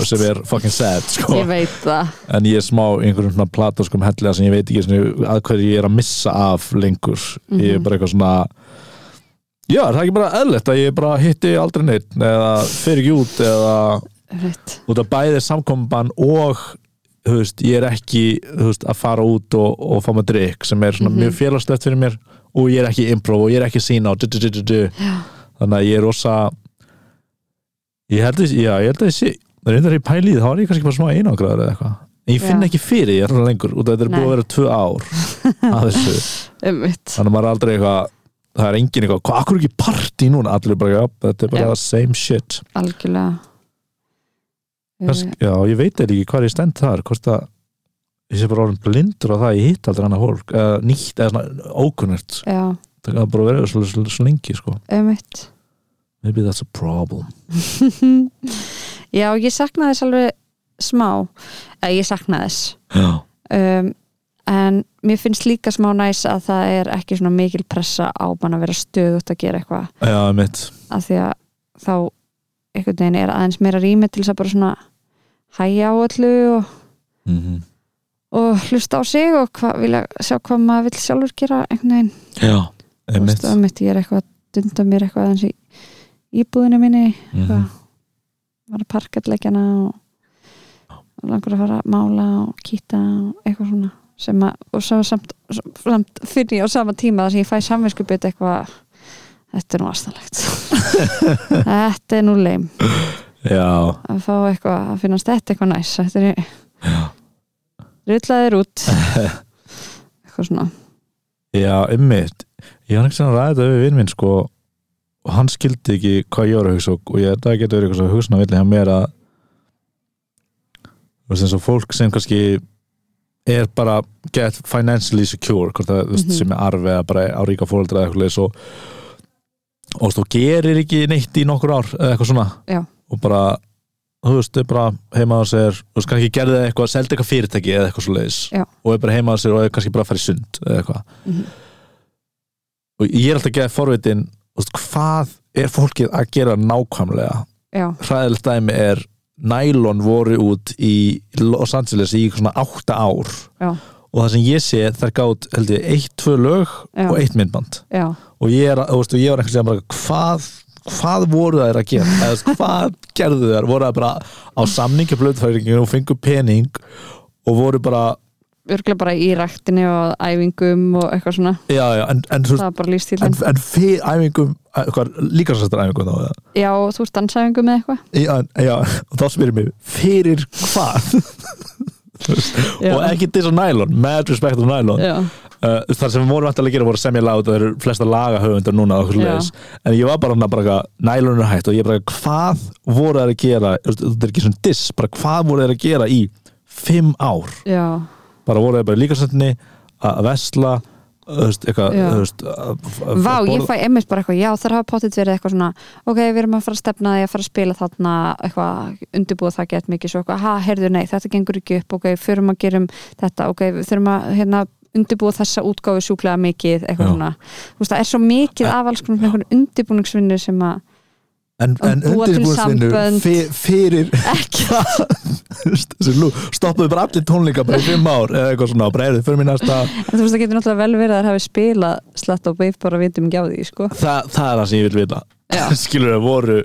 Speaker 2: sem er fucking sad sko
Speaker 1: ég veit það
Speaker 2: en ég er smá í einhverjum svona platóskum hellega sem ég veit ekki svona, að hverju ég er að missa af lengur ég er bara eitthvað svona já, er það ekki bara eðlert að ég bara hitti aldrei neitt eða fer ekki út eða
Speaker 1: Rétt.
Speaker 2: út að bæði samkomban og þú veist, ég er ekki þú veist, að fara út og, og fá með drikk sem er svona
Speaker 1: Mhm.
Speaker 2: mjög félagslegt fyrir mér og ég er ekki improv og ég er ekki sína og du, du, du, du, du.
Speaker 1: Já.
Speaker 2: þannig að ég er rosa ég held að, já, ég held að ég sé reyndar ég pæli í það, þá er ég kannski bara smá einangraður eða eitthvað en ég finn
Speaker 1: Já.
Speaker 2: ekki fyrir, ég er svona lengur út að þetta er búið
Speaker 1: Nei.
Speaker 2: að vera tvö ár að þessu,
Speaker 1: Einmitt.
Speaker 2: þannig að maður er aldrei eitthvað það er engin eitthvað, hvað, akkur ekki partí núna allir er bara, já, þetta er bara
Speaker 1: Já.
Speaker 2: same shit
Speaker 1: algjörlega
Speaker 2: Kansk,
Speaker 1: Mm.
Speaker 2: já, ég veit eða ekki hvað ég stend þar hvort að ég sé bara orðin blindur á það ég hitt aldrei annað hólk eða nýtt eða svona ókunnert
Speaker 1: Eh, já,
Speaker 2: það er bara verið svo, svo, svo lengi sko
Speaker 1: einmitt
Speaker 2: maybe that's a problem
Speaker 1: já, ég sakna þess alveg smá eða ég sakna þess
Speaker 2: já,
Speaker 1: um, en mér finnst líka smá næs að það er ekki svona mikil pressa á mann að vera stöðut að gera eitthvað
Speaker 2: já, mitt
Speaker 1: af því að þá einhvern veginn er aðeins meira rými til þess að bara svona hæja á öllu og,
Speaker 2: mm
Speaker 1: og hlusta á sig og hva, vilja sjá hvað maður vill sjálfur gera einhvern veginn
Speaker 2: já,
Speaker 1: Þú
Speaker 2: mitt
Speaker 1: veist, einmitt, ég er eitthvað að dunda mér eitthvað aðeins í íbúðinu minni
Speaker 2: mm
Speaker 1: eitthvað, var að parkatleikjana og og langur að fara að mála og kýta og eitthvað svona sem að, og svo samt, samt finn ég á sama tíma þar sem ég fæ samvinskupið eitthvað þetta er nú astanlegt þetta er nú leim
Speaker 2: já,
Speaker 1: að fá eitthvað, að finnast þetta eitthvað næs þetta er rullaðir út eitthvað svona
Speaker 2: já, mitt ég var ekki svona ræðið þetta við vinn minn sko og hann skildi ekki hvað ég var að hugsa og og ég held að það getur verið eitthvað svo hugsun að vilja hjá mér að þú veist eins og fólk sem kannski er bara get financially secure hvort það mm -hmm.
Speaker 1: Mhm.
Speaker 2: sem er arfi eða bara á ríka fóreldra eða eitthvað leis og og þú gerir ekki neitt í nokkur ár eða eitthvað svona
Speaker 1: Já.
Speaker 2: og bara þú veist, er bara heima á sér þú veist, kannski gerði það eitthvað, seldi eitthvað fyrirtæki eða eitthvað svo leis
Speaker 1: Já.
Speaker 2: og er bara heima á sér og er kannski bara að fara í sund eða eitthvað
Speaker 1: Mhm.
Speaker 2: og ég er alltaf að geða forvitin þú veist, hvað er fólkið að gera nákvæmlega
Speaker 1: já,
Speaker 2: hræðilegt dæmi er nælon voru út í Los Angeles í svona átta ár
Speaker 1: Já.
Speaker 2: og það sem ég sé þær gátt held ég eitt, tvö lög
Speaker 1: Já.
Speaker 2: og eitt myndband
Speaker 1: já,
Speaker 2: og ég, er, að- þú veist, og ég var einhvers veginn bara hvað, hvað voru þær að gera Eða, þú veist, hvað gerðu þær, voru þær bara á samningi blöðfæringinu og fengu pening og voru bara
Speaker 1: örglega bara í ræktinni og æfingum og eitthvað svona
Speaker 2: já, já, en, en, þú
Speaker 1: það
Speaker 2: veist,
Speaker 1: var bara lífstílinn
Speaker 2: en, en fyrir æfingum hvað, líka sættar æfingum þá eða?
Speaker 1: já, þú ert dansæfingu með eitthvað
Speaker 2: já, já, og þá spyrir mig fyrir hvað
Speaker 1: Já.
Speaker 2: og ekki diss á nælon, mad respect á nælon uh,
Speaker 1: já,
Speaker 2: þar sem við vorum alltaf að gera voru að semja lát og það eru flesta lagahöfundar núna og okkur
Speaker 1: Já.
Speaker 2: leðis en ég var bara hann að bara nælon er hægt og ég bara hvað voru þeir að gera þú veist, þetta er ekki svona diss, bara hvað voru þeir að gera í fimm ár,
Speaker 1: já,
Speaker 2: bara voru þeir bara í líkastöndinni að vesla þú veist, eitthvað
Speaker 1: Já.
Speaker 2: þú veist, að- að-
Speaker 1: vá,
Speaker 2: að
Speaker 1: ég
Speaker 2: borða-
Speaker 1: fæ einmitt bara eitthvað já, þar hafa potið verið eitthvað svona ok, við erum að fara að stefna því að fara að spila þarna eitthvað, undirbúið það gett mikið svo eitthvað, ha, heyrðu, nei, þetta gengur ekki upp ok, förum að gerum þetta, ok, við þurfum að hérna, undirbúið þessa útgáfu sjúklega mikið, eitthvað
Speaker 2: Já.
Speaker 1: svona þú veist, það er svo mikið af alls konar einhvern undirbúningsvinnu sem að
Speaker 2: en,
Speaker 1: að
Speaker 2: en
Speaker 1: búa til
Speaker 2: undirbúinsvinnu
Speaker 1: sambönd.
Speaker 2: fyr- fyrir
Speaker 1: ekki,
Speaker 2: þessi lú, stoppuðu bara allir tónleika bara í fimm ár eða eitthvað svona, bara eruðu fyrir mér næsta
Speaker 1: en þú veist, það getur náttúrulega vel verið að hafa spilað slatt og beif bara vitum ekki á því, sko
Speaker 2: Þa, það er það sem ég vil vita
Speaker 1: Já.
Speaker 2: skilur það voru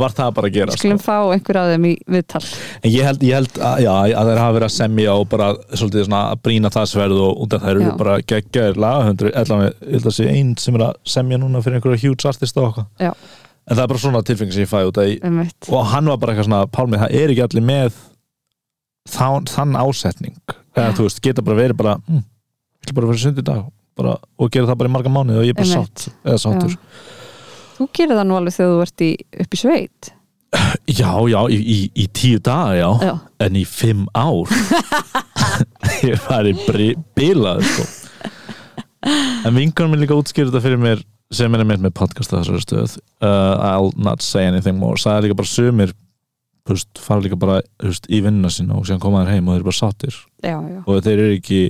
Speaker 2: var það bara að gera sko?
Speaker 1: skulum fá einhver á þeim í viðtal
Speaker 2: En ég held, ég held að, já, að þeir hafa verið að semja og bara svolítið svona að brýna það sverð og út af þær eru
Speaker 1: Já.
Speaker 2: bara geggjaðir lagahöndur allan við, ég held að sé einn sem er að semja núna fyrir einhverja huge artist og okkar
Speaker 1: Já.
Speaker 2: en það er bara svona tilfengi sem ég fæ út af í
Speaker 1: einmitt.
Speaker 2: og hann var bara eitthvað svona, Pálmi, það er ekki allir með þann, þann ásetning eða
Speaker 1: Já.
Speaker 2: þú veist, geta bara verið bara hm, ég ætla bara að vera sund í dag bara, og gera það bara í marga mánuði og ég er bara
Speaker 1: Einmitt.
Speaker 2: sátt eða sáttur
Speaker 1: þú gerir það nú alveg þegar þú ert í, upp í sveit
Speaker 2: Já, já, í, í, í tíu daga, já
Speaker 1: já,
Speaker 2: en í fimm ár ég var í bilað sko. en vinkunum minn líka útskýrði þetta fyrir mér sem er með með podcast að þessari stöð uh, I'll not say anything more sagði líka bara sumir þú veist, fara líka bara þú veist, í vinnuna sína og síðan koma þær heim og þeir eru bara sáttir
Speaker 1: já, já,
Speaker 2: og þeir eru ekki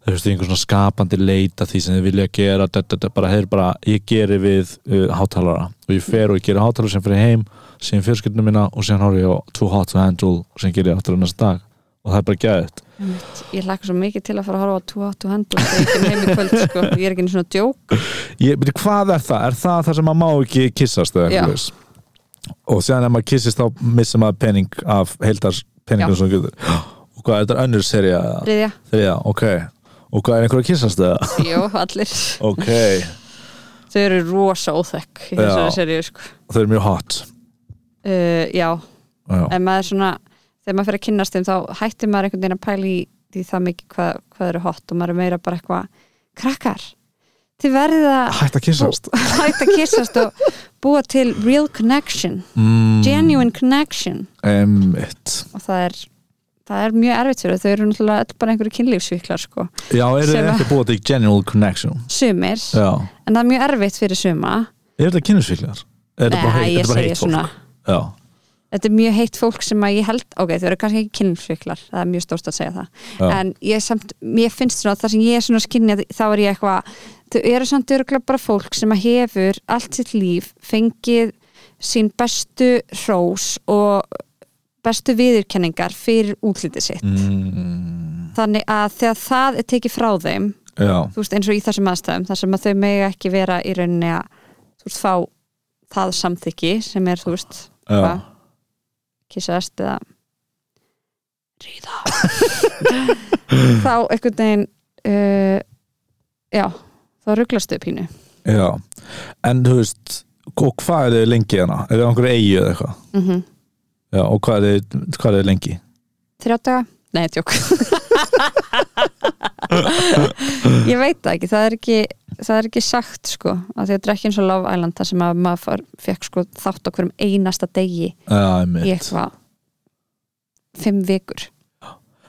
Speaker 2: þú veist, í einhver svona skapandi leita því sem þeir vilja gera da, da, da, bara, þeir bara, ég geri við uh, hátalara og ég fer og ég geri hátalara sem fyrir heim sem fjörskipnum mína og sem horf ég á Too Hot to Handle sem geri ég aftur á næsta dag og það er bara gæðið
Speaker 1: einmitt. ég hlakka svo mikið til að fara að horfa á 28 hendur þegar ég kem heim í kvöld sko. ég er ekki einu svona djók
Speaker 2: ég, beti, hvað er það? Er það það sem maður má ekki kissast eða
Speaker 1: Já.
Speaker 2: eitthvað leis? og síðan ef maður kissist þá missir maður pening af heildars peningum
Speaker 1: Já.
Speaker 2: sem getur og hvað, þetta er önnur serja
Speaker 1: þriðja,
Speaker 2: þriðja, ok og hvað er einhver að kissast eða?
Speaker 1: jú, allir
Speaker 2: ok,
Speaker 1: þau eru rosa óþekk í
Speaker 2: Já.
Speaker 1: þessari seríu sko.
Speaker 2: þau eru mjög hot
Speaker 1: uh, já,
Speaker 2: Já.
Speaker 1: en maður svona þegar maður fyrir að kynnast þeim þá hættir maður einhvern veginn að pæla í því það mikið hvað, hvað eru hot og maður er meira bara eitthvað krakkar, þið verðið að
Speaker 2: hægt að kyssast
Speaker 1: hætt að kissast og búa til real connection
Speaker 2: mm,
Speaker 1: genuine connection
Speaker 2: einmitt.
Speaker 1: og það er, það er mjög erfitt fyrir þau, þau eru náttúrulega öll bara einhverju kynlífsvíklar sko,
Speaker 2: já, eru
Speaker 1: Sem
Speaker 2: þið
Speaker 1: að-
Speaker 2: ekki búið til general connection
Speaker 1: sumir
Speaker 2: já,
Speaker 1: en það er mjög erfitt fyrir suma
Speaker 2: er þetta kynnesvíklar? er þetta
Speaker 1: Nei,
Speaker 2: bara heit,
Speaker 1: ég
Speaker 2: þetta er bara
Speaker 1: segi
Speaker 2: heit fólk? já,
Speaker 1: þetta er mjög heitt fólk sem að ég held ok, þau eru kannski ekki kynlífsvíklar, það er mjög stórt að segja það
Speaker 2: já,
Speaker 1: en ég samt, mér finnst svona þar sem ég er svona skinni þá er ég eitthvað þau eru samt örgulega bara fólk sem að hefur allt sitt líf fengið sín bestu hrós og bestu viðurkenningar fyrir útlitið sitt
Speaker 2: mm,
Speaker 1: þannig að þegar það er tekið frá þeim
Speaker 2: já.
Speaker 1: þú veist, eins og í þessum aðstæðum þar sem að þau mega ekki vera í rauninni að þú veist, fá það samþykki sem er, þú veist,
Speaker 2: já.
Speaker 1: Hva? kissast eða ríða þá einhvern veginn uh, já þá rugglastu pínu
Speaker 2: já en þú veist, og hvað er þið lengi hérna? er þið á einhverju eigi eða eitthvað?
Speaker 1: mm -hmm.
Speaker 2: já, og hvað er þið, hvað er þið lengi?
Speaker 1: þrjá daga, nei, tjók ég veit það ekki það er ekki, það er ekki sagt sko að því að þetta er ekki eins og Love Island þar sem að maður far, fekk sko þátt á hverjum einasta degi
Speaker 2: já,
Speaker 1: í
Speaker 2: einmitt
Speaker 1: eitthvað fimm vikur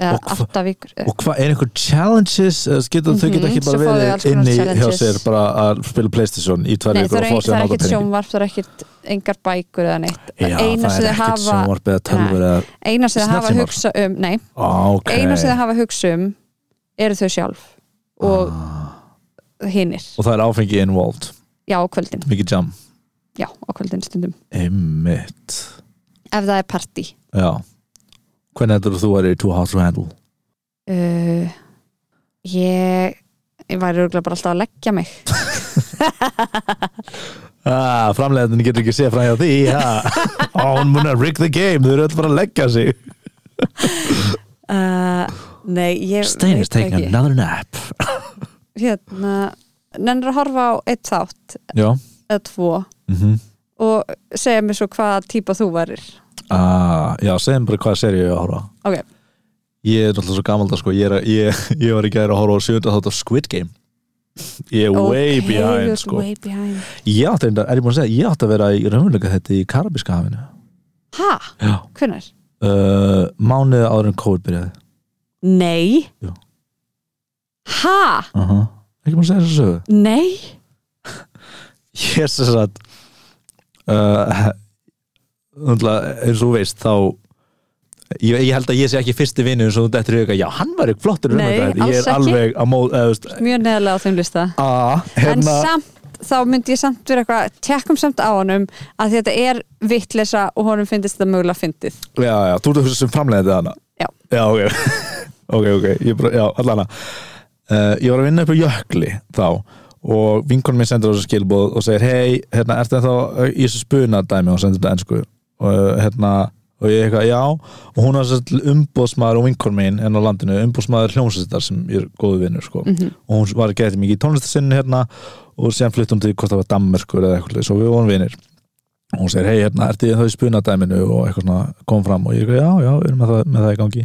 Speaker 1: eða
Speaker 2: Og hva-
Speaker 1: átta vikur
Speaker 2: og hvað, er einhver challenges eða getur þau
Speaker 1: Mhm,
Speaker 2: geta ekki
Speaker 1: svo
Speaker 2: bara
Speaker 1: fá þau alls
Speaker 2: verið
Speaker 1: konar
Speaker 2: inni hjá
Speaker 1: challenges.
Speaker 2: sér bara að spila Playstation í tvær
Speaker 1: Nei, það er,
Speaker 2: vikur og fá sér
Speaker 1: það er
Speaker 2: að
Speaker 1: ekkert
Speaker 2: nota pening
Speaker 1: sjónvarp, það er ekkert engar bækur eða neitt
Speaker 2: já,
Speaker 1: eina
Speaker 2: það
Speaker 1: sem
Speaker 2: er
Speaker 1: þau
Speaker 2: ekkert
Speaker 1: hafa,
Speaker 2: sjónvarp eða tölfur eða
Speaker 1: eina sem þau hafa
Speaker 2: Snjallsímar.
Speaker 1: hugsa um nei,
Speaker 2: Ah, ok
Speaker 1: eina sem þau hafa hugsa um eru þau sjálf og
Speaker 2: Ah.
Speaker 1: hinir,
Speaker 2: og það er áfengi involved
Speaker 1: já á kvöldin
Speaker 2: mikið jam
Speaker 1: já á kvöldin stundum,
Speaker 2: einmitt
Speaker 1: ef það er partí
Speaker 2: já hvernig heldur þú að það er too hot to handle
Speaker 1: uh, ég ég væri örgulega bara alltaf að leggja mig
Speaker 2: ah, framleiðin getur ekki séð fram hjá því ha? oh, hún mun að rig the game þau eru öll bara að leggja sig
Speaker 1: uh, nei, ég
Speaker 2: Stein is
Speaker 1: veit
Speaker 2: taking
Speaker 1: ekki
Speaker 2: another nap
Speaker 1: hérna, nennir að horfa á eitt þátt
Speaker 2: já
Speaker 1: eða tvo
Speaker 2: mm
Speaker 1: og segja mér svo hvaða típa þú varir
Speaker 2: ah, já segjum bara hvað serið ég á að horfa á.
Speaker 1: ok,
Speaker 2: ég er náttúrulega svo gammalda sko ég, er, að- ég, ég var ekki að horfa á sjönda þátt af Squid Game ég er way
Speaker 1: Ok,
Speaker 2: behind
Speaker 1: you're
Speaker 2: sko
Speaker 1: way behind.
Speaker 2: ég átti, reyndar- er ég búin að segja, ég átti að vera í raunleika þetta í Karabíska hafinu
Speaker 1: Ha?
Speaker 2: já
Speaker 1: Hvernar?
Speaker 2: uh, mánuði áður en COVID byrjaði
Speaker 1: Nei
Speaker 2: Jú.
Speaker 1: Ha?
Speaker 2: uh -huh. ekki maður segja þessu sögu
Speaker 1: Nei?
Speaker 2: ég er sem sagt uh, undla, eins og þú veist þá ég, ég held að ég sé ekki fyrsti vinnu eins og þú dettur í auka, já hann var ekki flottur
Speaker 1: Nei,
Speaker 2: raunveruleikahetja.
Speaker 1: alls
Speaker 2: ég er
Speaker 1: ekki.
Speaker 2: alveg að móð eða, þú veist,
Speaker 1: Mjög neðlega á þeim lista
Speaker 2: a,
Speaker 1: En
Speaker 2: hérna,
Speaker 1: samt, þá myndi ég samt vera eitthvað tekkum samt á honum að þetta er vittlesa og honum fyndist þetta mögulega fyndið
Speaker 2: já, já, þú ert þessum framleiðið hana
Speaker 1: Já.
Speaker 2: já ok, Eh, ok, ok ég bara, já, allana uh, ég var að vinna upp á Jökli þá og vinkonum minn sendur á þessu skilbóð og segir hei, hérna, ertu ennþá í þessu spunadæmi og sendur þetta ennsku og hérna, og ég eitthvað, já og hún var umbóðsmaður og vinkonum minn enn á landinu, umbóðsmaður hljómsveitar sem ég er góðu vinnur, sko og hún var gæti mikið í tónlistasinnu hérna og sem fluttum til hvort það var Dammerkur eða eitthvað, svo við vorum vinnir og hún segir, hei, hérna, ertu ennþá í spunadæminu og eitthvað svona, kom fram og ég eitthvað, já, já, við erum með það, með það í gangi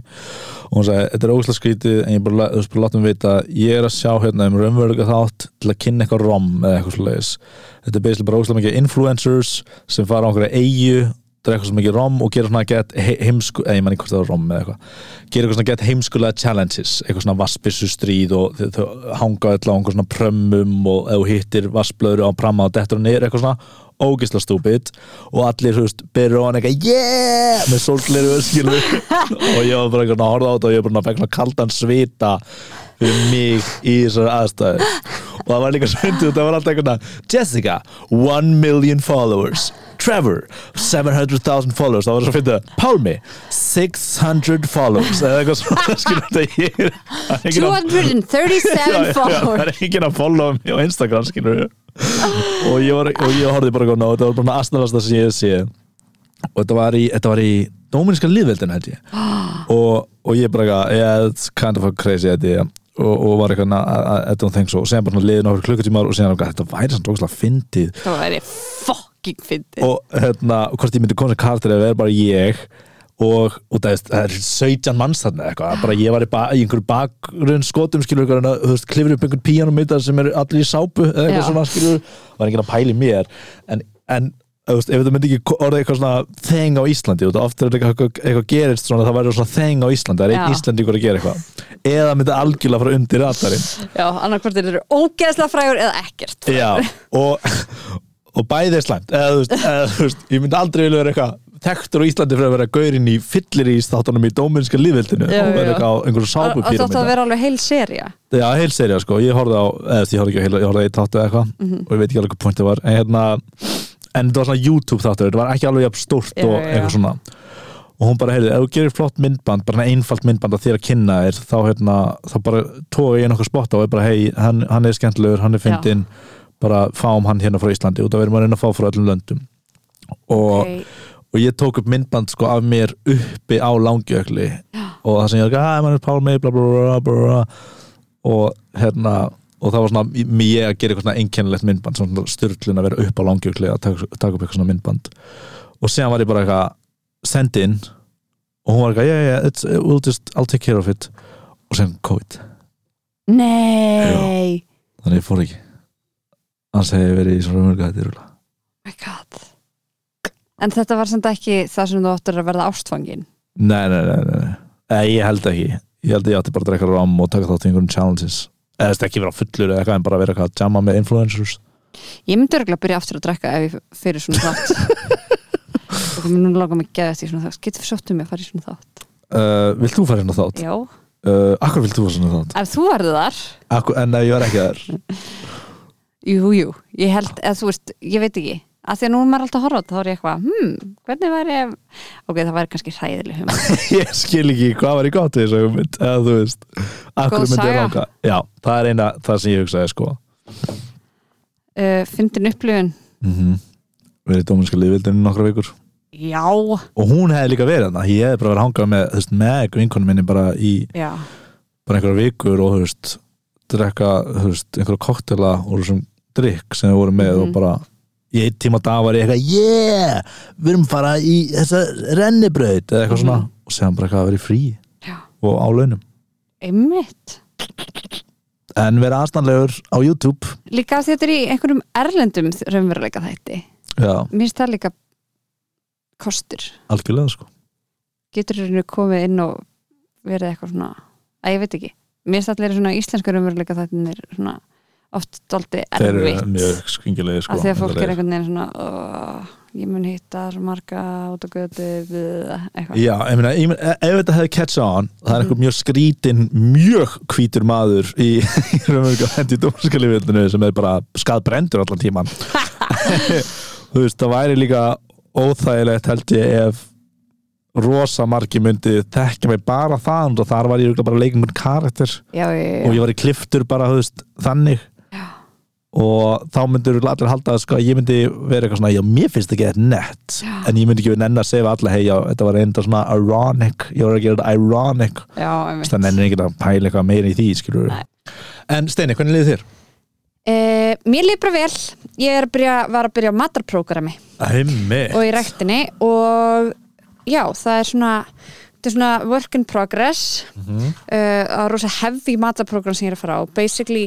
Speaker 2: og hún sagði, þetta er ógæslega skrítið en ég bara, þú veist, bara látum vita ég er að sjá hérna um raunverulega þátt til að kynna eitthvað rom eða eitthvað svoleiðis þetta er basically bara ógæslega mikið influencers sem fara á einhverja eigu drekka svo mikið rom og gera svona get he- heimsku, eða ég manni hvort það var rom eða eitthvað gera eitthvað svona get heimskulega challenges eitthvað svona vassbissu stríð og þau, þau hanga öll á einhver svona prömmum og ef þú hittir vassblöðru á pramma og dettur hann niður eitthvað svona ógisla stúpid og allir, þú veist, berur á hann eitthvað yeah, með sólgleru öskilur og ég var bara einhvern að horfa á þetta og ég var bara að fengla kaldan svita fyrir mig í þessari aðstæðu og það var líka svöndu, það var alltaf einhvern að Jessica, 1 million followers Trevor, 700,000 followers, það var svo að finna Pálmi, 600 followers eða eitthvað svona, skilur þetta ég er- það er enginn að-
Speaker 1: 237
Speaker 2: það
Speaker 1: followers
Speaker 2: er enginn að followa mig á Instagram skilur og ég, var, og ég horfði bara góna og þetta var bara aðstæðast sem ég sé og þetta var í, þetta var í Dóminíska liðveldin held ég og, og ég bara eitthvað, yeah, it's kind of a crazy idea og, og var eitthvað að- að- að þetta og þeng svo og segja bara svona liðin okkur klukkutímar og segja eitthvað, þetta væri svona ógæslega fyndið
Speaker 1: það væri fucking fyndið
Speaker 2: og hérna, og hvort ég myndi koma sem karakter eða verið bara ég og, og það, er, það er 17 manns þarna eða eitthvað, bara ég var í, ba í einhverju bakgrunn skotum skilur ykkur en að, þú veist, klifur upp einhvern píanum mitt sem eru allir í sápu eða
Speaker 1: Já.
Speaker 2: eitthvað svona skilur, var enginn að pæli mér en, en þú veist, ef þetta myndi ekki ko- orðið eitthvað svona þeng á Íslandi og það ofta er eitthvað, eitthvað gerist svona, það væri svona þeng á Íslandi, það er einn
Speaker 1: Já.
Speaker 2: Íslandingur að gera eitthvað eða myndi algjörlega fara undir ratarinn
Speaker 1: já, annarkvort þeir eru ógeðslega frægur eða ekkert
Speaker 2: Já, og, og bæði er slæmt eða, þú veist, eða, þú veist, ég myndi aldrei vilja vera eitthvað þekktur á Íslandi fyrir að vera gaurinn í fyllir í státtunum í dóminska lífveldinu
Speaker 1: Já,
Speaker 2: og vera
Speaker 1: já.
Speaker 2: eitthvað á
Speaker 1: og og
Speaker 2: einhverju
Speaker 1: þátt að
Speaker 2: sápupýramida
Speaker 1: vera alveg heil serja
Speaker 2: Já, heil serið, sko, ég horfði á eða, því ég horfði ekki á heil, ég horfði á eitt þáttu eða eitthvað
Speaker 1: Mhm.
Speaker 2: og ég veit ekki alveg hvað pointið var en, hérna, en þetta var svona YouTube þáttu, þetta var ekki alveg jafn stórt
Speaker 1: Já,
Speaker 2: og
Speaker 1: já, já.
Speaker 2: eitthvað svona og hún bara, heyrðu, ef þú gerir flott myndband bara einfalt myndband að þér að kynna þér þá, hérna, þá bara tóa ég nokkuð spotta og er bara, hei, hann, hann er skemmtilegur, hann er fyndinn bara fáum hann hérna frá Íslandi og það verðum að reyna að fá frá öllum löndum og,
Speaker 1: Ok.
Speaker 2: og ég tók upp myndband sko af mér uppi á langjökli og það sem ég er að "Ah, mann er Pálmi bla bla bla bla bla og hérna og það var svona m- ég að gera eitthvað svona einkennilegt myndband svona styrlun að vera upp á langjökli að taka, taka upp eitthvað svona myndband og síðan var ég bara eitthvað send in og hún var eitthvað yeah, yeah, it's, uh, we'll just, I'll take care of it og síðan COVID
Speaker 1: nei
Speaker 2: þannig ég fór ekki annars hef ég verið í svona umhverfið þetta er rúla
Speaker 1: Oh my god en þetta var samt ekki það sem þú áttur að verða ástfangin
Speaker 2: Nei, nei, nei, nei, nei. Nei, ég held ekki Ég held að ég átti bara að drekka rom og taka þátt í einhverjum challenges eða þess ekki vera fullur eða eitthvað en bara vera eitthvað að jamma með influencers
Speaker 1: ég myndi örgulega að byrja aftur að drekka ef ég fyrir svona þátt og mér núna langar mig geða eftir svona þátt getur sótt um mig að fara í svona þátt
Speaker 2: uh, Vilt þú fara hérna þátt?
Speaker 1: já,
Speaker 2: Uh, akkur vilt þú fara svona þátt?
Speaker 1: ef þú verður þar
Speaker 2: Akkur, en nei, ég var ekki þar
Speaker 1: jú, jú, ég held eða þú veist, ég veit ekki að því að nú er maður alltaf að horfa á þetta, þá er ég eitthvað hmm, hvernig væri ef ok, það væri kannski hræðileg humor
Speaker 2: Ég skil ekki hvað var í gott í þessu hugmynd eða þú veist Akkur
Speaker 1: Góð
Speaker 2: myndi ég
Speaker 1: saga.
Speaker 2: langa Já, það er eina það sem ég hugsaði sko
Speaker 1: uh, fyndin upplifun,
Speaker 2: mm -hmm. Verið í dóminska liðvildinu nokkra vikur
Speaker 1: já
Speaker 2: og hún hefði líka verið þarna ég hefði bara verið að hanga með, þú veist, með vinkonum minni bara í
Speaker 1: já,
Speaker 2: bara einhverja vikur og þú veist drekka, þú veist, einhverja koktela og þessum drikk sem við vorum með og
Speaker 1: Mhm.
Speaker 2: bara í einn tíma dag var ég eitthvað yeah, við erum fara í þessa rennibraut eða eitthvað svona
Speaker 1: Mhm.
Speaker 2: og segðan bara eitthvað að vera í frí
Speaker 1: já,
Speaker 2: og á launum
Speaker 1: einmitt
Speaker 2: en vera aðstanlegur á YouTube
Speaker 1: líka af því að þetta er í einhverjum erlendum raunveruleika þætti
Speaker 2: já,
Speaker 1: mér finnst það líka kostur
Speaker 2: algjörlega sko
Speaker 1: getur henni komið inn og verið eitthvað svona að ég veit ekki, mér finnst allir svona íslenska raunveruleika þættin er svona oft doldi
Speaker 2: þeir eru
Speaker 1: erfitt
Speaker 2: mjög skringilegi sko
Speaker 1: að því að fólk er
Speaker 2: endanlega.
Speaker 1: einhvern veginn svona "Åh, ég mun hitta svo marga út á götu bleh," eitthvað
Speaker 2: Já, ég meina, ég meina, e- ef þetta hefði catch on það er einhver mjög skrítin, mjög hvítur maður í, í raunverulega hendi dómskalifildinu sem er bara skadbrendur allan tíman Þú veist, það væri líka óþægilegt held ég ef rosa margi myndi þekka mig bara þann og þar var ég örugglega bara að leika einhvern karakter
Speaker 1: já, já, já,
Speaker 2: og
Speaker 1: já.
Speaker 2: ég var í kliftur bara, þú veist, þannig
Speaker 1: Já.
Speaker 2: og þá myndur allir halda að sko, ég myndi vera eitthvað svona, já, mér finnst ekki þetta nett en ég myndi ekki nenn að segja við alla hei, já, þetta var enda svona ironic ég var að gera þetta ironic
Speaker 1: já, einmitt
Speaker 2: það nennir ekki að pæla eitthvað meira í því, skilur
Speaker 1: Nei.
Speaker 2: en Steini, hvernig liðið þér?
Speaker 1: Uh, mér líður bara vel, ég er að byrja, var að byrja á matarprogrammi
Speaker 2: Einmitt.
Speaker 1: og í ræktinni og já, það er svona, þetta er svona work in progress mm
Speaker 2: Mhm.
Speaker 1: það er rosa heavy matarprogram sem ég er að fara á basically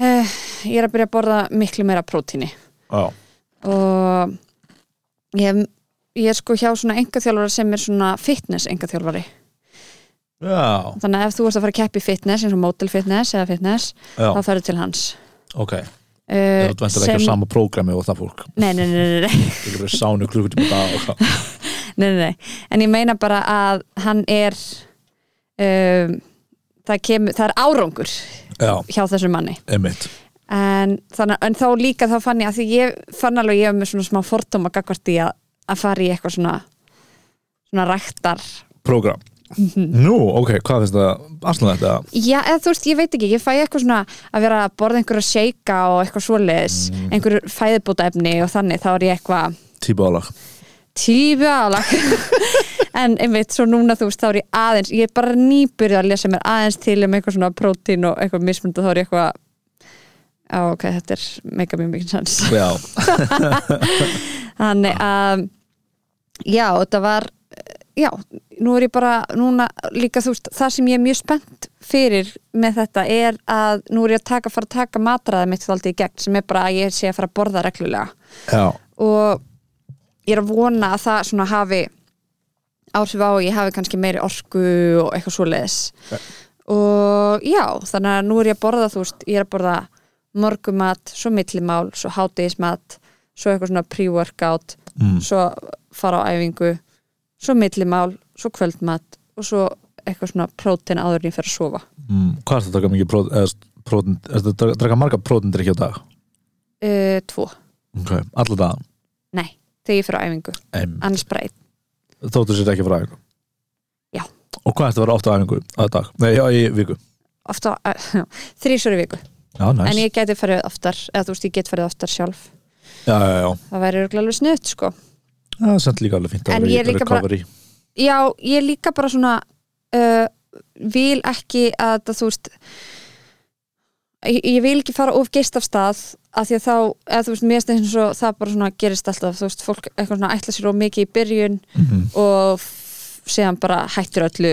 Speaker 1: uh, ég er að byrja að borða miklu meira prótíni
Speaker 2: Já.
Speaker 1: og ég, ég er sko hjá svona engaþjálfara sem er svona fitness engaþjálfari
Speaker 2: já,
Speaker 1: þannig að ef þú ert að fara að keppa í fitness eins og model fitness eða fitness
Speaker 2: já,
Speaker 1: þá ferðu til hans
Speaker 2: ok
Speaker 1: uh,
Speaker 2: þú vendur ekki á sama prógrami og það fólk
Speaker 1: nei, nei, nei, nei, nei.
Speaker 2: ekki verið sánu klukkutíma dag og hvað
Speaker 1: nei, nei, nei. en ég meina bara að hann er um, það, kemur, það er árangur
Speaker 2: já,
Speaker 1: hjá þessum manni
Speaker 2: einmitt
Speaker 1: en, þannig, en þá líka þá fann ég að því ég fann alveg ég hef með svona smá fordóma gagvart í að, að fara í eitthvað svona svona ræktar
Speaker 2: prógram
Speaker 1: Mhm.
Speaker 2: nú, ok, hvað finnst það aðslan þetta?
Speaker 1: já, eða þú veist, ég veit ekki, ég fæ eitthvað svona að vera að borða einhverja shake og eitthvað svoleiðis einhverju fæðbútaefni og þannig þá er ég eitthvað
Speaker 2: típa álag
Speaker 1: tífi aðalag en einmitt svo núna þú veist þá er ég aðeins ég er bara nýbyrjuð að lesa mér aðeins til um eitthvað svona prótín og eitthvað mismund og þá er ég eitthvað á ok, þetta er mega mjög mikið sans
Speaker 2: já,
Speaker 1: þannig að já, þetta var já, nú er ég bara núna líka þú veist, það sem ég er mjög spennt fyrir með þetta er að nú er ég að taka, fara að taka matraðið mitt þáldi í gegn sem er bara að ég sé að fara að borða reglulega
Speaker 2: já,
Speaker 1: og ég er að vona að það svona hafi áhrif á að ég hafi kannski meiri orku og eitthvað svoleiðis
Speaker 2: Ja.
Speaker 1: og já, þannig að nú er ég að borða þú veist, ég er að borða morgumat svo millimál, svo hátegismat svo eitthvað svona pre-workout
Speaker 2: Mm.
Speaker 1: svo fara á æfingu svo millimál, svo kvöldmat og svo eitthvað svona prótein áður en ég fer að sofa
Speaker 2: mm, hvað er það að taka mikið prót- eða st- prótin, er það að taka- taka marga prótindrykki á dag?
Speaker 1: uh, tvo,
Speaker 2: ok, allar dagann
Speaker 1: nei, þegar ég fer á æfingu
Speaker 2: Em,
Speaker 1: annars bara einn,
Speaker 2: þóttu sér ekki frá æfingu
Speaker 1: Já.
Speaker 2: og hvað ertu að vera oft á æfingu á dag? nei, já, í viku
Speaker 1: ofta uh, þrísvöru viku
Speaker 2: já, næs
Speaker 1: en ég geti farið oftar eða þú veist, ég get farið oftar sjálf
Speaker 2: já, já, já,
Speaker 1: það væri örugglega alveg snutt, sko
Speaker 2: það er sent líka alveg fínt
Speaker 1: En
Speaker 2: að
Speaker 1: ég er
Speaker 2: vera í
Speaker 1: líka bara-
Speaker 2: recovery
Speaker 1: já, ég líka bara svona uh, vil ekki að þetta, þú veist ég, ég vil ekki fara of geist af stað af því að þá, eða þú veist, mér stið eins og það bara svona gerist alltaf, þú veist, fólk eitthvað svona ætla sér of mikið í byrjun
Speaker 2: Mhm.
Speaker 1: og f- síðan bara hættir öllu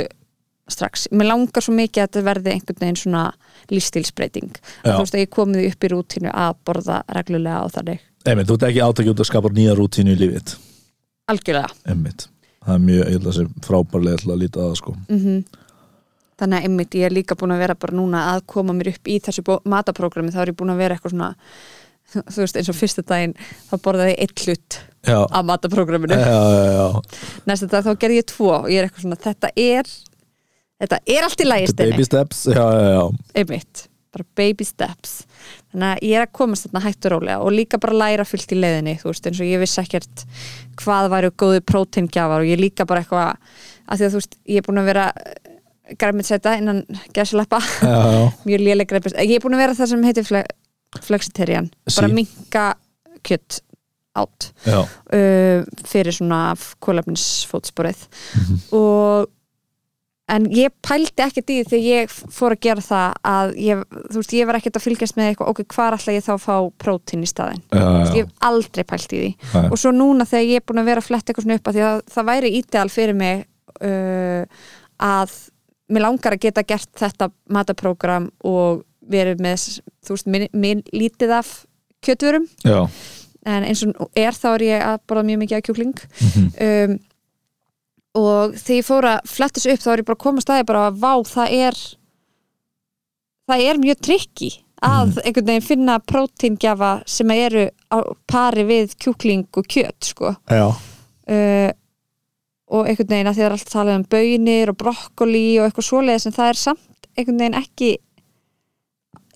Speaker 1: strax, mér langar svo mikið að þetta verði einhvern veginn svona lífstílsbreyting, að
Speaker 2: Já.
Speaker 1: þú veist að ég komið upp í rútinu að borða reglulega og þannig
Speaker 2: einmitt, þú ert ekki átakið út að skapa nýja rútínu í lífið þitt.
Speaker 1: algjörlega
Speaker 2: einmitt, það er mjög, ég held að sé frábærlega til að líta að það sko
Speaker 1: Mm. þannig að einmitt ég er líka búin að vera bara núna að koma mér upp í þessu mataprógrami þá er ég búin að vera eitthvað svona þú veist eins og fyrsta daginn þá borðaði ég eitt hlut
Speaker 2: já,
Speaker 1: af mataprógraminu
Speaker 2: já, já, já.
Speaker 1: næsta dag þá gerði ég tvo og ég er eitthvað svona þetta er þetta er allt í
Speaker 2: The
Speaker 1: lægist
Speaker 2: baby steps, já, já, já
Speaker 1: einmitt, bara baby steps þannig að ég er að komast þarna hægt og rólega og líka bara læra fullt í leiðinni þú veist, eins og ég vissi ekkert hvað væru góði prótengjafar og ég líka bara eitthvað að því að þú veist, ég er búin að vera græmitsetta innan gæsleppa
Speaker 2: já, já,
Speaker 1: mjög léleg græmitsetta, ég er búin að vera það sem heitir fle flexitarian, bara
Speaker 2: Sí.
Speaker 1: minka kjött átt
Speaker 2: já,
Speaker 1: uh, fyrir svona kólefnisfótsporið og en ég pældi ekkert í því þegar ég fór að gera það að ég, þú veist, ég var ekkert að fylgjast með eitthvað ok, hvar ætla ég þá að fá prótín í staðinn Þú
Speaker 2: já, já,
Speaker 1: veist,
Speaker 2: já.
Speaker 1: ég hef aldrei pælt í því
Speaker 2: Nei.
Speaker 1: og svo núna þegar ég er búin að vera að fletta eitthvað svona upp að því að það væri ídeal fyrir mig uh, að mér langar að geta gert þetta mataprógram og verið með þú veist, minn, minn lítið af kjötverum
Speaker 2: já,
Speaker 1: en eins og nú er þá er ég að borða mjög mikið af kjúkling um, og þegar ég fór að fletta þessu upp þá er ég bara að koma að staði bara að vá það er það er mjög trikki að einhvern veginn finna prótingjafa sem eru á pari við kjúkling og kjöt sko
Speaker 2: já,
Speaker 1: uh, og einhvern veginn að því það er allt talað um bönir og brokkoli og eitthvað svoleiðis en það er samt einhvern veginn ekki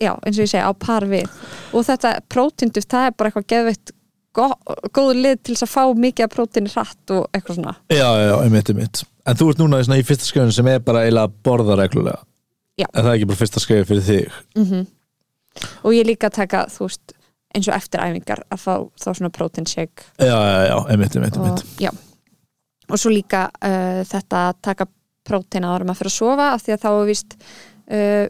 Speaker 1: já, eins og ég segi, á par við og þetta prótinduft, það er bara eitthvað geðveitt gó- góð lið til þess að fá mikið af prótini hratt og eitthvað svona
Speaker 2: já, já, já, einmitt, einmitt en þú ert núna í svona í fyrsta skrifin sem er bara eiginlega að borða reglulega
Speaker 1: Já.
Speaker 2: en það er ekki bara fyrsta skrifin fyrir þig
Speaker 1: mm -hmm. og ég líka að taka, þú veist eins og eftir æfingar að fá þá svona protein shake
Speaker 2: já, já, já, einmitt, einmitt,
Speaker 1: og,
Speaker 2: einmitt.
Speaker 1: já. og svo líka uh, þetta að taka prótein áður en maður fyrir að sofa af því að þá er víst uh,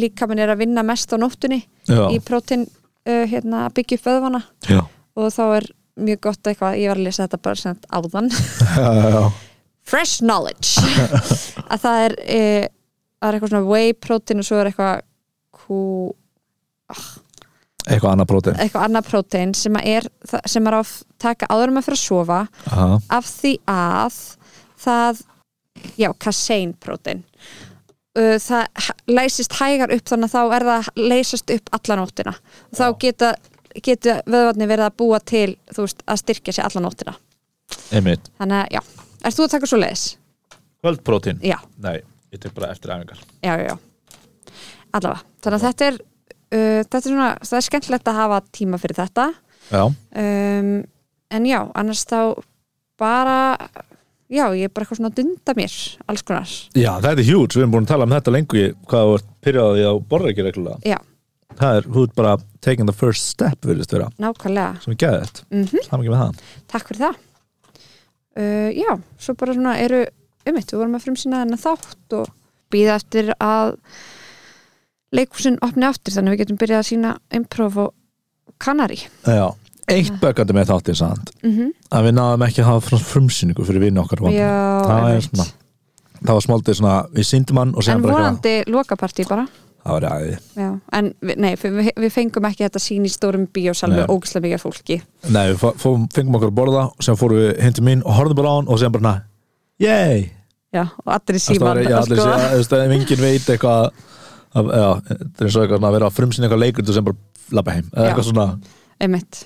Speaker 1: líka mann er að vinna mest á nóttunni
Speaker 2: Já,
Speaker 1: í prótein uh, hérna, að byggja upp vöðvana
Speaker 2: já,
Speaker 1: og þá er mjög gott eitthvað, ég var að lesa þetta bara sem sagt áðan
Speaker 2: já, já, já.
Speaker 1: fresh knowledge að það er, e, það er eitthvað svona whey protein og svo er eitthvað kú,
Speaker 2: eitthvað annað prótein
Speaker 1: eitthvað annað protein sem að er, það- sem er að taka áður en maður fyrir að sofa
Speaker 2: Aha.
Speaker 1: af því að það, já, kasein protein Uh, það h- læsist hægar upp þannig að þá er það að leysast upp alla nóttina og þá geta, geta vöðvarnir verið að búa til þú veist, að styrkja sér alla nóttina
Speaker 2: einmitt,
Speaker 1: þannig að, já, ert þú að taka svo leiðis?
Speaker 2: kvöldprótein
Speaker 1: Já,
Speaker 2: nei, ég tek bara eftir æfingar
Speaker 1: já, já, já allavega, þannig að þetta er uh, þetta er svona, það er skemmtilegt að hafa tíma fyrir þetta
Speaker 2: já,
Speaker 1: um, en já, annars þá bara já, ég er bara eitthvað svona að dunda mér alls konar,
Speaker 2: já þetta er hjúts, við erum búin að tala um þetta lengi hvað þú ert pyrraðið á borra ekki reglulega
Speaker 1: já,
Speaker 2: það er, þú ert bara taking the first step virðist vera,
Speaker 1: nákvæmlega
Speaker 2: sem er geðið
Speaker 1: mm
Speaker 2: það ekki með það
Speaker 1: takk fyrir það uh, já, svo bara svona eru ummitt, við vorum að frumsýna þennan þátt og býða eftir að leikhúsin opni aftur þannig að við getum byrjað að sína improv og kanari
Speaker 2: já, eitt bökandi með þáttið sant,
Speaker 1: mm -hmm.
Speaker 2: að við náðum ekki að hafa frum- frumsýningu fyrir vinnu okkar vanda.
Speaker 1: Já,
Speaker 2: það er
Speaker 1: einmitt.
Speaker 2: svona það var smáltið svona, við síndum hann og
Speaker 1: en
Speaker 2: séðan bara eitthvað,
Speaker 1: vonandi lokapartí bara
Speaker 2: það var aðið
Speaker 1: já, en við, nei, við, við fengum ekki þetta sín í stórum bíósalmi
Speaker 2: Nei.
Speaker 1: og ógislega mikið af fólki
Speaker 2: Nei, við fó- fórum, fengum okkur að borða og sem fórum við hindi mín og horfðum bara á hann og sem bara, na, yey
Speaker 1: já, og allir í
Speaker 2: Það
Speaker 1: síman
Speaker 2: er já, allir segja, þú veist, ef enginn veit eitthvað að, já, það er eins og eitthvað svona að vera að frumsýna eitthvað leikur sem bara lappa heim eða
Speaker 1: Já.
Speaker 2: eitthvað svona
Speaker 1: einmitt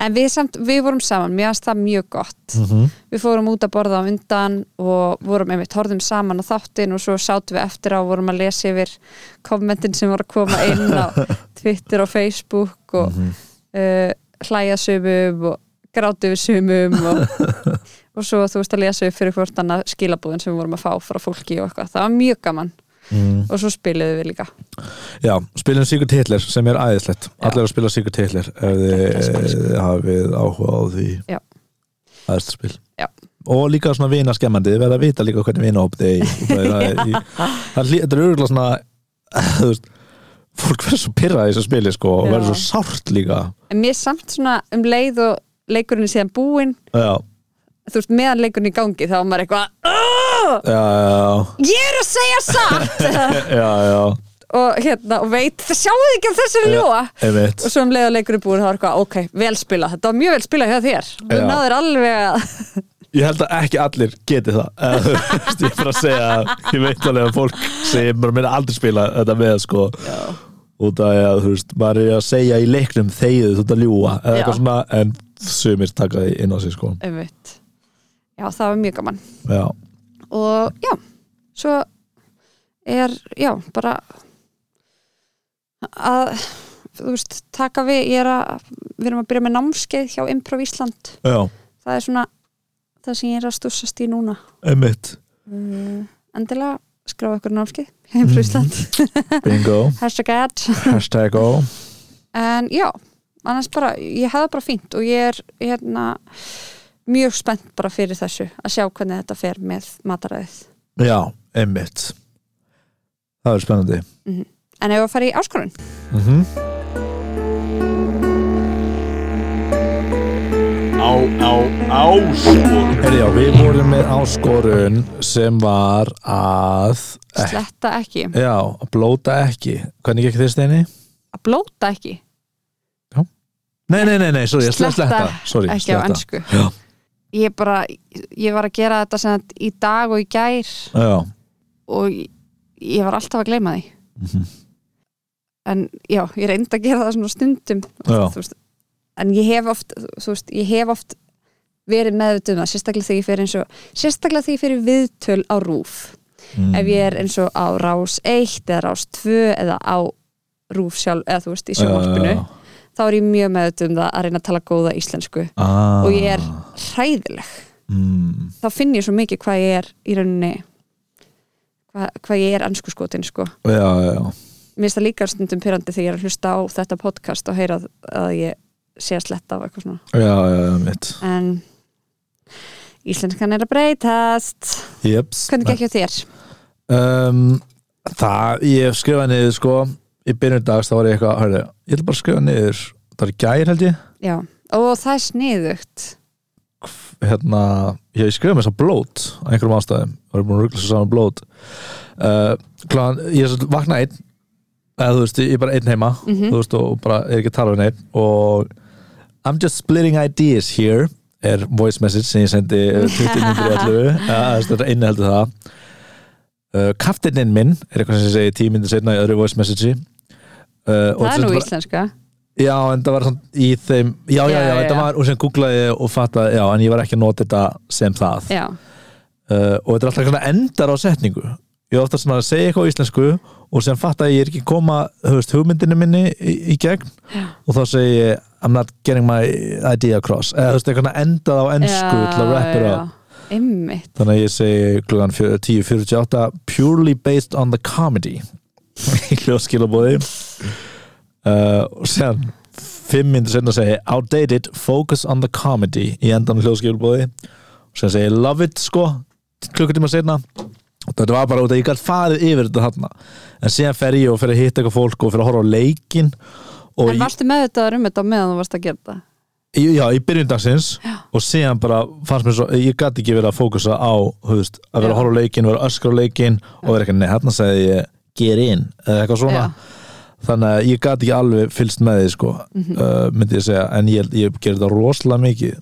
Speaker 1: en við, samt, við vorum saman, mér finnst það mjög gott
Speaker 2: Mhm.
Speaker 1: við fórum út að borða á undan og vorum einmitt, horfðum saman á þáttin og svo sátum við eftir á, vorum að lesa yfir kommentin sem voru að koma inn á Twitter og Facebook og uh, hlæja sumum og gráti við sumum og, og svo þú veist að lesa upp fyrir hvort annað skilabúðin sem við vorum að fá frá fólki og eitthvað, það var mjög gaman
Speaker 2: mm.
Speaker 1: og svo spiluðu við líka
Speaker 2: Já, spilum Sigurd Hitler sem er æðislegt Allir að spila Sigurd Hitler ef
Speaker 1: að spila
Speaker 2: þið hafið áhuga á því
Speaker 1: Já.
Speaker 2: Það er þetta spil
Speaker 1: Já.
Speaker 2: Og líka svona vinaskemmandi, þið verða að vita líka hvernig vinahóp þið eigi. Það er- það er í- það er hlý- þetta er örgulega svona þú veist, fólk verður svo pyrrað í þessu spili sko, og
Speaker 1: Já.
Speaker 2: verður svo sárt líka
Speaker 1: en mér samt svona um leið og leikurinn er síðan búinn
Speaker 2: Já,
Speaker 1: þú veist, meðan leikurinn í gangi þá var maður eitthvað "Ah,
Speaker 2: já, já,
Speaker 1: ég er að segja satt
Speaker 2: já, já, já.
Speaker 1: og hérna, og veit, það sjáðu þið ekki af þessu ljóa
Speaker 2: Einmitt.
Speaker 1: og svo um leið og leikurinn er búinn þá var eitthvað, ok, vel spila, þetta var mjög vel spila hjá þér þú
Speaker 2: Já.
Speaker 1: náður alveg að
Speaker 2: Ég held að ekki allir geti það Eða, þú veist, Ég er bara að segja að Ég veit alveg að fólk segir bara minna aldrei spila þetta með sko út af að þú veist, maður er að segja í leiknum þegið þú ert að ljúa eða
Speaker 1: Já.
Speaker 2: eitthvað svona en sumir taka því inn á sig sko
Speaker 1: einmitt, já, það var mjög gaman
Speaker 2: Já,
Speaker 1: og já, svo er, já, bara að þú veist, taka við ég er að, við erum að byrja með námskeið hjá Improv Ísland
Speaker 2: já,
Speaker 1: það er svona það sem ég er að stússast í núna
Speaker 2: einmitt
Speaker 1: mm. endilega skrá ykkur námskið
Speaker 2: Mhm.
Speaker 1: heim frá Ísland,
Speaker 2: Bingo,
Speaker 1: hashtag ad
Speaker 2: hashtag go
Speaker 1: en já, annars bara ég hefði bara fínt og ég er hérna, mjög spennt bara fyrir þessu að sjá hvernig þetta fer með mataræðið
Speaker 2: Já, einmitt Það er spennandi
Speaker 1: en ef að fara í áskorun
Speaker 2: mm -hmm.
Speaker 3: á, á, sko. áskorun
Speaker 2: já, við vorum með áskorun sem var að
Speaker 1: sletta ekki,
Speaker 2: Já, að blóta ekki Hvernig gekk þér steini?
Speaker 1: að blóta ekki
Speaker 2: Nei, nei, nei, nei, sorry, ég sletta,
Speaker 1: Sletta
Speaker 2: sletta. Sorry,
Speaker 1: ekki á
Speaker 2: sletta.
Speaker 1: ennsku
Speaker 2: Já.
Speaker 1: ég bara, ég var að gera þetta sem sagt í dag og í gær
Speaker 2: Já,
Speaker 1: og ég- ég var alltaf að gleyma því en já, ég reyndi að gera það svona stundum
Speaker 2: Já.
Speaker 1: Þú veist, en ég hef oft, þú veist, ég hef oft verið meðvituð um það, sérstaklega þegar ég fyrir eins og sérstaklega þegar ég fyrir viðtöl á rúf
Speaker 2: Mm.
Speaker 1: ef ég er eins og á rás 1 eða rás 2 eða á rúf sjálf, eða þú veist, í sjónvarpinu
Speaker 2: Já.
Speaker 1: þá er ég mjög meðvituð um það að reyna að tala góða íslensku
Speaker 2: ah.
Speaker 1: og ég er hræðileg
Speaker 2: mm.
Speaker 1: þá finn ég svo mikið hvað ég er í rauninni hvað, hvað ég er ansku skotin sko
Speaker 2: Já, já, já
Speaker 1: mér finnst það líka stundum pyrrandi þegar ég er að hlusta á þetta podcast og heyra að, að ég sé að sletta á eitthvað svona
Speaker 2: já, já, já, mitt
Speaker 1: en íslenskan er að breytast
Speaker 2: Jeps.
Speaker 1: hvernig gekk hjá þér?
Speaker 2: um, Það, ég skrifaði niður sko í byrjun dags, þá var ég eitthvað hörðu, ég ætla bara að skrifa niður það var í gær held ég
Speaker 1: Já, og það er sniðugt
Speaker 2: hérna, ég skrifaði með þess að blót á einhverjum ástæðum, var búin að ruggla svo saman blót uh, kláðan, ég svo vakna einn eða þú veist, ég er bara einn heima
Speaker 1: Mhm.
Speaker 2: þú veist, og bara er ekki að tala við neitt og I'm just splitting ideas here er voice message sem ég sendi eh, 20 minnir í allu þetta inniheldur það uh, kaftinninn minn er eitthvað sem ég segi 10 minnir setna í öðru voice message uh, og
Speaker 1: það er
Speaker 2: þetta
Speaker 1: nú
Speaker 2: var-
Speaker 1: íslenska
Speaker 2: já, en það var samt í þeim já, já, já,
Speaker 1: Já, já,
Speaker 2: þetta
Speaker 1: já.
Speaker 2: var, og sem googlaði ég og fattaði, já, en ég var ekki að nota þetta sem það
Speaker 1: Já,
Speaker 2: uh, og þetta er alltaf svona endar á setningu ég er ofta svona að segja eitthvað á íslensku og sem fatt að ég er ekki að koma þú veist, hugmyndinu minni í, í gegn og þá segi ég I'm not getting my idea across eða þú veist eitthvað svona endað á ennsku til að wrap it
Speaker 1: já.
Speaker 2: up
Speaker 1: Einmitt
Speaker 2: þannig að ég segi klukkan fjö- 10.48 purely based on the comedy í hljóðskilabóði uh, og sen fimm myndir senna segi ég, outdated, focus on the comedy í endan hljóðskilabóði og sen segi ég, love it sko klukkutíma senna og þetta var bara út að ég gætt farið yfir þetta þarna en síðan fer ég og fer að hitta eitthvað fólk og fer að horfa á leikin og
Speaker 1: En varstu með þetta um þetta á meðan þú varst að gera það?
Speaker 2: Í- Já, í byrjun dagsins og síðan bara fannst mér svo ég gæti ekki verið að fókusa á þú veist, að vera
Speaker 1: Já.
Speaker 2: að horfa á leikinn, vera að öskra á leikinn og vera eitthvað, nei, hérna sagði ég get in eða eitthvað svona
Speaker 1: Já.
Speaker 2: þannig að ég gæti ekki alveg fylst með því sko,
Speaker 1: Mhm.
Speaker 2: uh, myndi ég segja en ég, ég gerði það rosalega mikið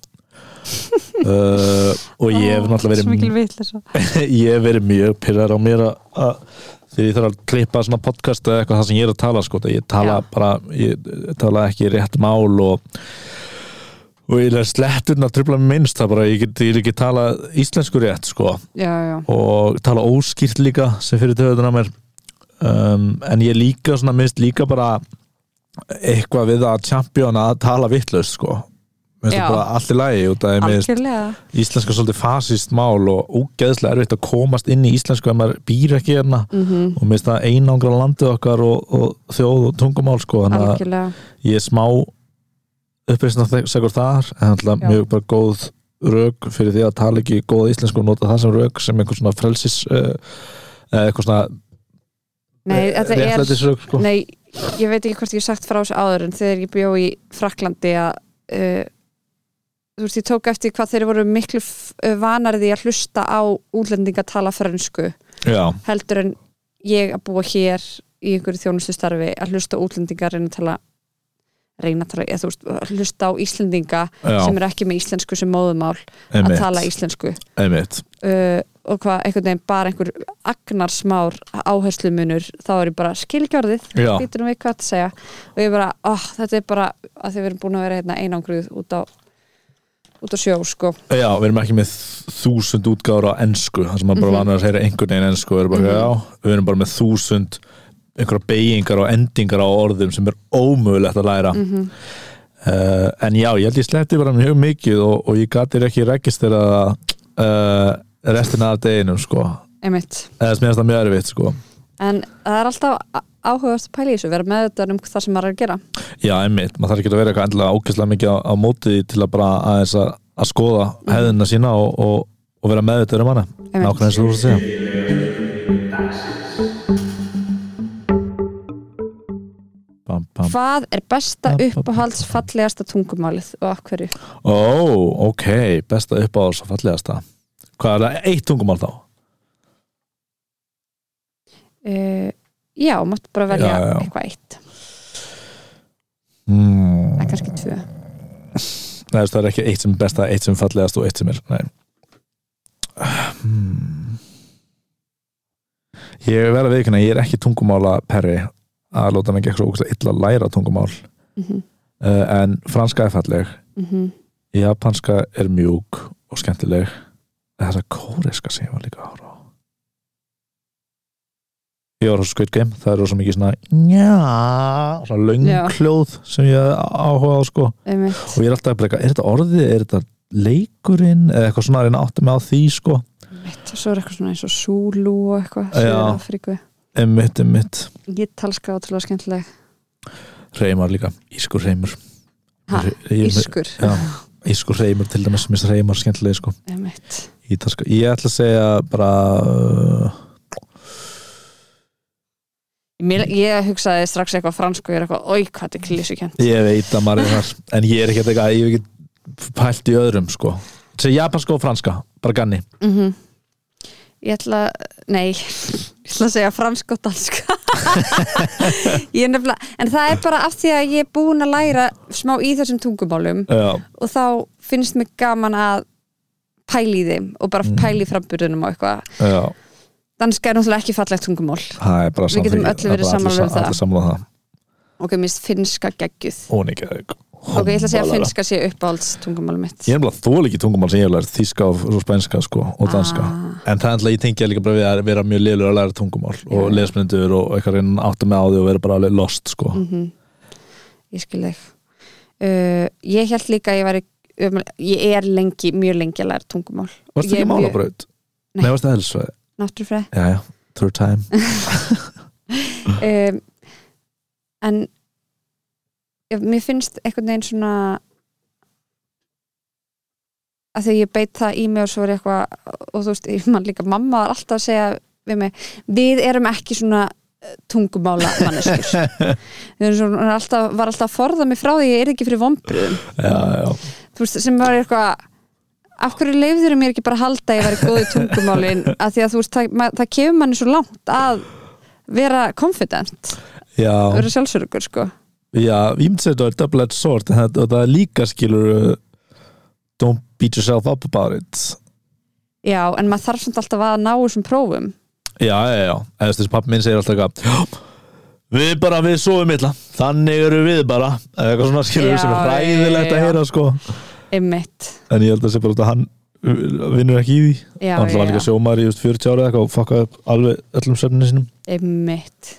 Speaker 2: uh, og ég hef náttúrulega
Speaker 1: Svo mikil
Speaker 2: verið
Speaker 1: vitleysa.
Speaker 2: ég hef verið mjög pyrrar á mér að, að þegar ég þarf að klippa svona podcast eða eitthvað það sem ég er að tala sko, þegar ég tala
Speaker 1: Já.
Speaker 2: bara, ég tala ekki rétt mál og og ég er sletturinn að trubla mig minnst það bara, ég get, ég get ekki tala íslensku rétt sko,
Speaker 1: Já, já,
Speaker 2: og tala óskýrt líka sem fyrir töðunar á mér um, en ég líka svona minnst líka bara eitthvað við að champion að tala vitlaust sko Mér finnst
Speaker 1: Já.
Speaker 2: það bara allt í lagi út að ég minnst
Speaker 1: algjörlega
Speaker 2: íslenska er svolítið fasist mál og ógeðslega erfitt að komast inn í íslensku ef maður býr ekki hérna
Speaker 1: mm
Speaker 2: og mér finnst það einangra landið okkar og, og þjóð og tungumál sko þannig að
Speaker 1: Algjörlega
Speaker 2: ég er smá uppreisna segur þar en alltaf
Speaker 1: Já.
Speaker 2: mjög bara góð rauk fyrir því að tala ekki góð íslensku og nota það sem rauk sem einhver svona frelsis uh, eitthvað svona
Speaker 1: Nei, þetta er
Speaker 2: réttlætisrauk sko.
Speaker 1: Nei, ég veit ekki hvort ég hef sagt frá þessu áður en þegar ég bjó í Fraklandi að uh, þú veist, ég tók eftir hvað þeir voru miklu f- uh, vanari því að hlusta á útlendinga tala frönsku
Speaker 2: Já,
Speaker 1: heldur en ég að búa hér í einhverju þjónustu starfi að hlusta á útlendinga að reyna að tala reyna að tala, eða þú veist, að hlusta á íslendinga
Speaker 2: já,
Speaker 1: sem er ekki með íslensku sem móðumál að
Speaker 2: einmitt,
Speaker 1: tala íslensku
Speaker 2: einmitt
Speaker 1: uh, og hvað, einhvern veginn bara einhver agnarsmár áherslumunur þá er ég bara skilgjörðið
Speaker 2: Já.
Speaker 1: býtur um við hvað að segja og ég bara, oh, þetta er bara að þið verðum búin að vera hérna einangruð út á út á sjó, sko
Speaker 2: Já, við erum ekki með þúsund útgáður á ensku, það sem maður bara vanur að heyra einhvern veginn ensku, við erum bara, já, við erum bara með þúsund einhverja beigingar og endingar á orðum sem er ómögulegt að læra uh, en já, ég held ég sletti bara mjög mikið og, og ég gati ekki registrað uh, restina af deginum, sko
Speaker 1: einmitt,
Speaker 2: eða sem ég finnst það mjög erfitt, sko
Speaker 1: en það er alltaf á- áhugavert að pæla í þessu, vera með þetta um það sem maður er að gera
Speaker 2: Já, einmitt, maður þarf ekki að vera eitthvað endilega ókesslega mikið á, á mótið til að bara aðeins að, að skoða hefðina sína og, og, og vera meðvitað um hana
Speaker 1: Mm. Einmitt.
Speaker 2: nákvæmlega eins og þú voru að segja Bam, bam.
Speaker 1: hvað er besta
Speaker 2: Ba- ba- ba-
Speaker 1: uppáhalds fallegasta tungumálið og af hverju?
Speaker 2: Ó, ok, besta uppáðs og fallegasta Hvað er það? Eitt tungumál þá?
Speaker 1: Uh, já, mátt bara velja
Speaker 2: Já, já.
Speaker 1: eitthvað eitt,
Speaker 2: Mm. Hmm.
Speaker 1: eða kannski tvö
Speaker 2: Nei, þú veist, það er ekki eitt sem er besta, eitt sem er fallegast og eitt sem er Nei Hmm. Ég verð að veikina, ég er ekki tungumála perri að láta mig ekki eitthvað ógæslega illa læra tungumál
Speaker 1: mm -hmm.
Speaker 2: uh, en franska er falleg
Speaker 1: mhm,
Speaker 2: japanska er mjúk og skemmtileg þessa kóreska sem ég var líka að horfa á Ég var á Squid Game, það er rosa mikið svona njá,
Speaker 1: Já.
Speaker 2: svona löngkljóð sem ég hafði áhuga á sko
Speaker 1: einmitt,
Speaker 2: og ég er alltaf bara eitthvað, er þetta orðið, er þetta leikurinn eða eitthvað svona að reyna að átta mig á því sko
Speaker 1: einmitt og svo er eitthvað svona eins og Zulu og eitthvað
Speaker 2: Já.
Speaker 1: Suður Afríku
Speaker 2: emmitt, emmitt
Speaker 1: Ég talska ótrúlega skemmtileg
Speaker 2: reymar líka, ískur reymur
Speaker 1: Ha,
Speaker 2: Ég- ég-
Speaker 1: Ískur
Speaker 2: já, ískur reymur til dæmis, minnst reymar skemmtilega sko.
Speaker 1: Einmitt.
Speaker 2: Ítalska, ég ætla að segja bara uh,
Speaker 1: Mér, Ég hugsaði strax eitthvað fransku Ég er eitthvað, oi, hvað þetta er klísukent
Speaker 2: ég veit að maður er þar en ég er ekki að teka, ég hef ekki pælt í öðrum sko, segja japanska og franska bara ganni,
Speaker 1: mm Ég ætla, nei Ég ætla að segja fransk og danska Ég er nefnilega En það er bara af því að ég er búin að læra smá í þessum tungumálum
Speaker 2: já,
Speaker 1: og þá finnst mér gaman að pæli í þeim og bara
Speaker 2: Mhm.
Speaker 1: pæli í framburðunum og eitthvað
Speaker 2: já
Speaker 1: Danska er náttúrulega ekki fallegt tungumál
Speaker 2: það er bara
Speaker 1: Við getum öll verið sammála um það.
Speaker 2: allir sammála um það,
Speaker 1: Ok, mér finnst finnska geggjuð
Speaker 2: hún ekki
Speaker 1: Ok, ég ætla að segja að
Speaker 2: Hún-
Speaker 1: finnska sé uppáhalds tungumálum mitt
Speaker 2: ég er bara þól ekki tungumál sem ég hef lært þíska og, og spænska sko, og danska
Speaker 1: Ah.
Speaker 2: en það er alltaf ég tengja líka bara við að vera mjög liðlur að læra tungumál og
Speaker 1: Já.
Speaker 2: lesmyndur og eitthvað reyna áttu með á því og vera bara alveg lost sko.
Speaker 1: mm Ég skil þig uh, Ég held líka að ég væri ömurleg- Ég er lengi, mjög lengi að læra tungumál
Speaker 2: varstu
Speaker 1: Ég
Speaker 2: ekki
Speaker 1: er mjög-
Speaker 2: málabraut?
Speaker 1: Nei.
Speaker 2: Nei, varstu helsfræði?
Speaker 1: Náttúrufræði
Speaker 2: Já, já, through time
Speaker 1: um, en ég, mér finnst einhvern veginn svona að því ég beit það í mig og svo er ég eitthvað og þú veist, ég man líka mamma var alltaf að segja við mig, við erum ekki svona eh, tungumála manneskjur við erum svona, hún er alltaf, var alltaf að forða mig frá því að ég er ekki fyrir vombriðum
Speaker 2: já, já,
Speaker 1: þú veist, sem var eitthvað af hverju leifður mér ekki bara að halda að ég væri góð í tungumálin, að því að þú veist það, ma- það kefur manni svo langt að vera confident
Speaker 2: já,
Speaker 1: vera sjálfsörugur sko
Speaker 2: já ég myndi segja þetta er double-edged sword en það, og það er líka skilur uh, don't beat yourself up about it
Speaker 1: já, en maður þarf samt alltaf að ná þessum prófum
Speaker 2: já, já, já, eða þessi pappi minn segir alltaf eitthvað "Já, við bara, við sofum illa þannig eru við bara eða eitthvað svona skilur
Speaker 1: Já,
Speaker 2: sem er
Speaker 1: já,
Speaker 2: ræðilegt
Speaker 1: já.
Speaker 2: að heyra sko
Speaker 1: einmitt
Speaker 2: en ég held að það sé bara út að hann uh, vinnur ekki í því
Speaker 1: já,
Speaker 2: hann var
Speaker 1: já,
Speaker 2: líka
Speaker 1: já.
Speaker 2: sjómaður í just 40 ára eða eitthvað og fokkaði upp alveg öllum söfninu sínum
Speaker 1: einmitt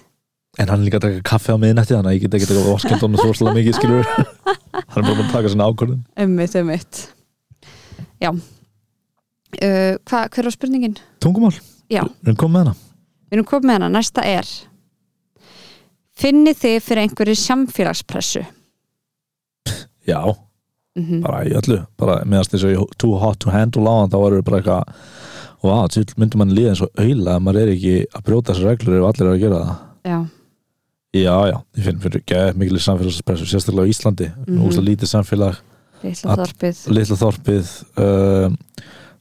Speaker 2: en hann er líka að taka kaffe á miðnætti þannig að ég get ekki taka oskend honum svo svolítið mikið skilur hann er bara búin að taka sinna ákvörðin
Speaker 1: einmitt, einmitt já uh, hva, hver var spurningin?
Speaker 2: tungumál,
Speaker 1: já,
Speaker 2: við erum komið með hana
Speaker 1: við erum komið með hana, næsta er finnið þið fyrir einhverju samfélagspressu
Speaker 2: já,
Speaker 1: mm
Speaker 2: bara í öllu bara meðast þess að ég too hot to handle á hann þá erum við bara eitthvað wow, til myndum mann líða eins og auðla ef maður er ekki að brjóta þessar reglur ef allir eru að gera það
Speaker 1: já,
Speaker 2: já, já, ég finn fyrir geð mikil samfélagspressu, sérstaklega á Íslandi mm
Speaker 1: Mhm.
Speaker 2: lítið samfélag
Speaker 1: litla
Speaker 2: All-
Speaker 1: þorpið
Speaker 2: litla þorpið um,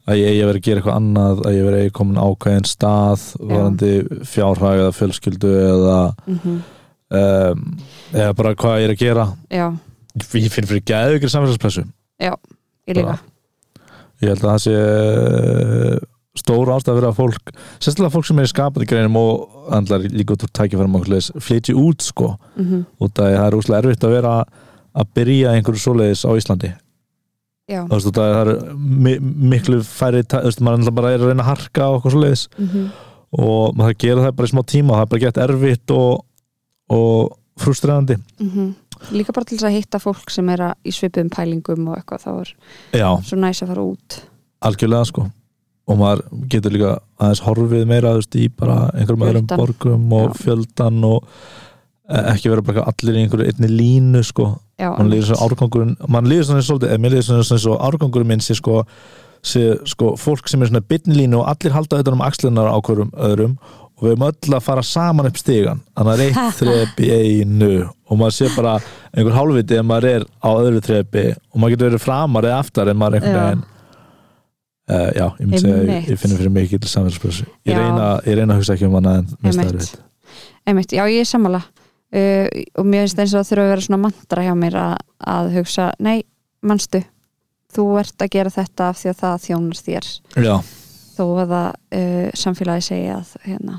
Speaker 2: að ég eigi að vera að gera eitthvað annað að ég vera eigi komin ákveðin stað varandi fjárhag eða fjölskyldu eða,
Speaker 1: mm
Speaker 2: um, eða bara hvað ég er að gera
Speaker 1: já,
Speaker 2: ég finn fyrir geðu ykkur samfélagspressu
Speaker 1: ég líka
Speaker 2: ég held að það sé eh, stór ástæð fyrir að fólk sérstaklega fólk sem er í skapandi greinum og andlar líka út úr tækifærum og svoleiðis, flytji út sko
Speaker 1: mm
Speaker 2: út að það er úslega erfitt að vera að byrja í einhverju svoleiðis á Íslandi
Speaker 1: já,
Speaker 2: þú veist, það er mi miklu færri, tæ- þú veist, maður er náttúrulega bara er að reyna að harka og okkur svoleiðis
Speaker 1: mm
Speaker 2: og maður þarf að gera það bara í smá tíma og það er bara gett erfitt og, og frustrerandi
Speaker 1: Mhm. líka bara til þess að hitta fólk sem er að í svipuðum pælingum og eitthvað þá er
Speaker 2: já,
Speaker 1: svo næs að fara út
Speaker 2: algjörlega sko og maður getur líka aðeins horfið meira þú veist, í bara einhverjum
Speaker 1: Fjöldan.
Speaker 2: öðrum borgum og
Speaker 1: Já.
Speaker 2: fjöldan og e, ekki vera bara eitthvað allir í einhverju einni línu sko,
Speaker 1: já,
Speaker 2: mann líður
Speaker 1: einmitt.
Speaker 2: svona árgangurinn mann líður svona svolítið, eða mér líður svona svona svo árgangurinn minn sé sko, sé sko fólk sem er svona bitnilínu og allir halda auðvitað um axlunar á hverjum öðrum og við erum öll að fara saman upp stígan þannig að það er eitt þrepi í einu og maður sé bara einhver hálfviti ef maður er á öðru þrepi og maður getur verið framar eða aftar ef maður er einhvern
Speaker 1: Já.
Speaker 2: veginn Uh, já, ég myndi segja, ég,
Speaker 1: Einmitt.
Speaker 2: ég finnir fyrir mikið til samfélagspressu. Ég
Speaker 1: Já.
Speaker 2: reyna, ég reyna að hugsa ekki um hana en minnst það er
Speaker 1: Einmitt. Einmitt, já ég er sammála uh, og mér finnst eins og það þurfa að vera svona mantra hjá mér að, að hugsa nei, manstu, þú ert að gera þetta af því að það þjónar þér
Speaker 2: Já,
Speaker 1: þó að það, uh, samfélagi segi að hérna,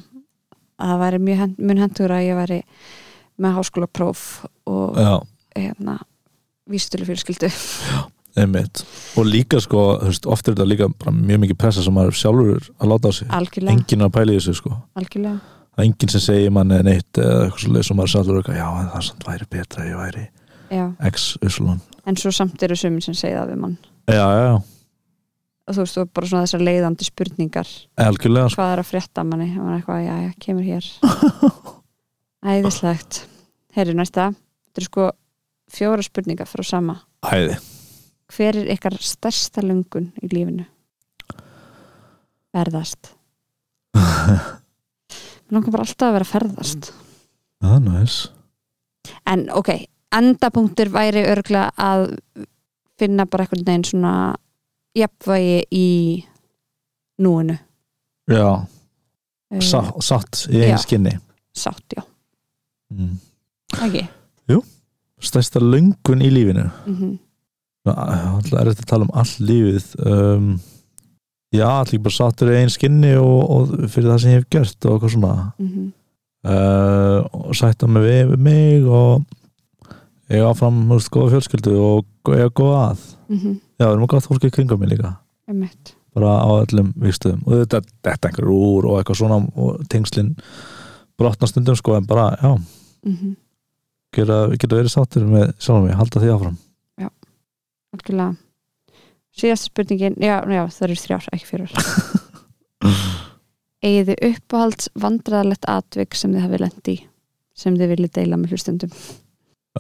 Speaker 1: að það væri mjög hend, mun hendur að ég væri með háskólapróf og
Speaker 2: já.
Speaker 1: hérna vístölu fjölskyldu
Speaker 2: einmitt og líka sko, þú veist, oft er þetta líka bara mjög mikið pressa sem maður sjálfur að láta á sig
Speaker 1: algjörlega,
Speaker 2: enginn að pæla í þessu sko
Speaker 1: algjörlega
Speaker 2: það er enginn sem segir manni neitt eða eitthvað svo leið sem maður sjálfur eitthvað, já, en það samt væri betra ef ég væri
Speaker 1: já.
Speaker 2: x uslun
Speaker 1: en svo samt eru sumin sem segja það við mann
Speaker 2: já, já, já,
Speaker 1: um og þú veist, og bara svona þessar leiðandi spurningar
Speaker 2: algjörlega sko.
Speaker 1: hvað er að frétta af manni, og maður eitthvað, já, já, kemur hér æðislegt herri, næsta, þetta er sko fjóra spurningar frá sama
Speaker 2: Æði,
Speaker 1: hver er ykkar stærsta löngun í lífinu? Ferðast Mér langar bara alltaf að vera að ferðast
Speaker 2: það er næs
Speaker 1: En ok, endapunktur væri örgla að finna bara einhvern veginn svona jafnvægi í núinu
Speaker 2: Já,
Speaker 1: Eh,
Speaker 2: sá, satt í eigin
Speaker 1: Já.
Speaker 2: skinni
Speaker 1: Sátt, já,
Speaker 2: mm.
Speaker 1: ekki
Speaker 2: Stærsta löngun í lífinu
Speaker 1: mm
Speaker 2: Alltaf er þetta að tala um allt lífið um, Já, allir bara sattur í eigin skinni og, og fyrir það sem ég hef gert og eitthvað svona
Speaker 1: mhm,
Speaker 2: uh, og sætta mig við við mig og ég áfram þú veist, góða fjölskyldu og ég er góða að Já, við erum að gáða fólki í kringum mig líka
Speaker 1: mhm, Einmitt
Speaker 2: bara á öllum vikstöðum og þetta, þetta einhver úr og eitthvað svona og tengslin brotna stundum sko en bara, já,
Speaker 1: mm
Speaker 2: gera, geta verið sáttur með sjálfum mig, halda því áfram
Speaker 1: Algjörlega Síðasta spurningin, já, já það eru þrjár, ekki fjórar Egið þið uppáhalds vandræðalegt atvik sem þið hafið lent í sem þið viljið deila með hlustendum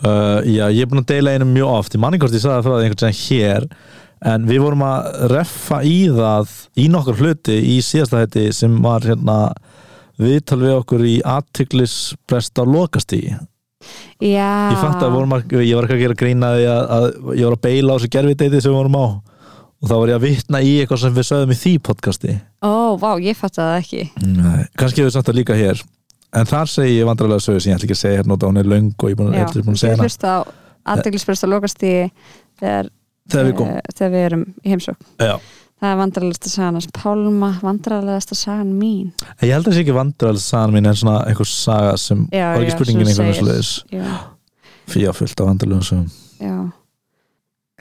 Speaker 2: uh, Já, ég er búin að deila einu mjög oft ég manni hvort ég sagði það frá því einhvern veginn hér en við vorum að reffa í það í nokkur hluti í síðasta hætti sem var hérna viðtal við okkur í aðtiklispresta lokastíi
Speaker 1: Já
Speaker 2: Ég
Speaker 1: Ah.
Speaker 2: fatt að vorum að, ég var ekki að gera grína því að, að ég var að beila á þessu gerfideiti sem við vorum á og þá var ég að vitna í eitthvað sem við sögðum í því podcasti
Speaker 1: Ó, vá, ég fatt að það ekki
Speaker 2: Nei. kannski hefur sagt það líka hér en þar segi ég vandrarlega sögur sem ég ætla ekki að segja hérna út að hún er löng og ég er búin-
Speaker 1: Já,
Speaker 2: ég er búin að segja
Speaker 1: ég
Speaker 2: hana
Speaker 1: hlusta á aðdeglispresta lokast í þegar,
Speaker 2: þegar við komum
Speaker 1: eh, þegar við erum í heimsókn
Speaker 2: Já.
Speaker 1: Það er vandræðalegasta sagan hans Pálma, vandræðalegasta sagan mín
Speaker 2: En ég held að það sé ekki vandrarlega sagan mín en svona eitthvað saga sem
Speaker 1: Já,
Speaker 2: var ekki
Speaker 1: já,
Speaker 2: spurningin
Speaker 1: sem
Speaker 2: einhvern
Speaker 1: segir.
Speaker 2: veginn svoleiðis
Speaker 1: Já,
Speaker 2: fyrir að fylta vandrarlega sögum
Speaker 1: já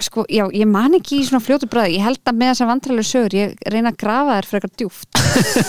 Speaker 1: Sko, já, ég man ekki í svona fljótu bræði ég held að með þessar vandræðalegu sögur ég reyna að grafa þær frekar djúft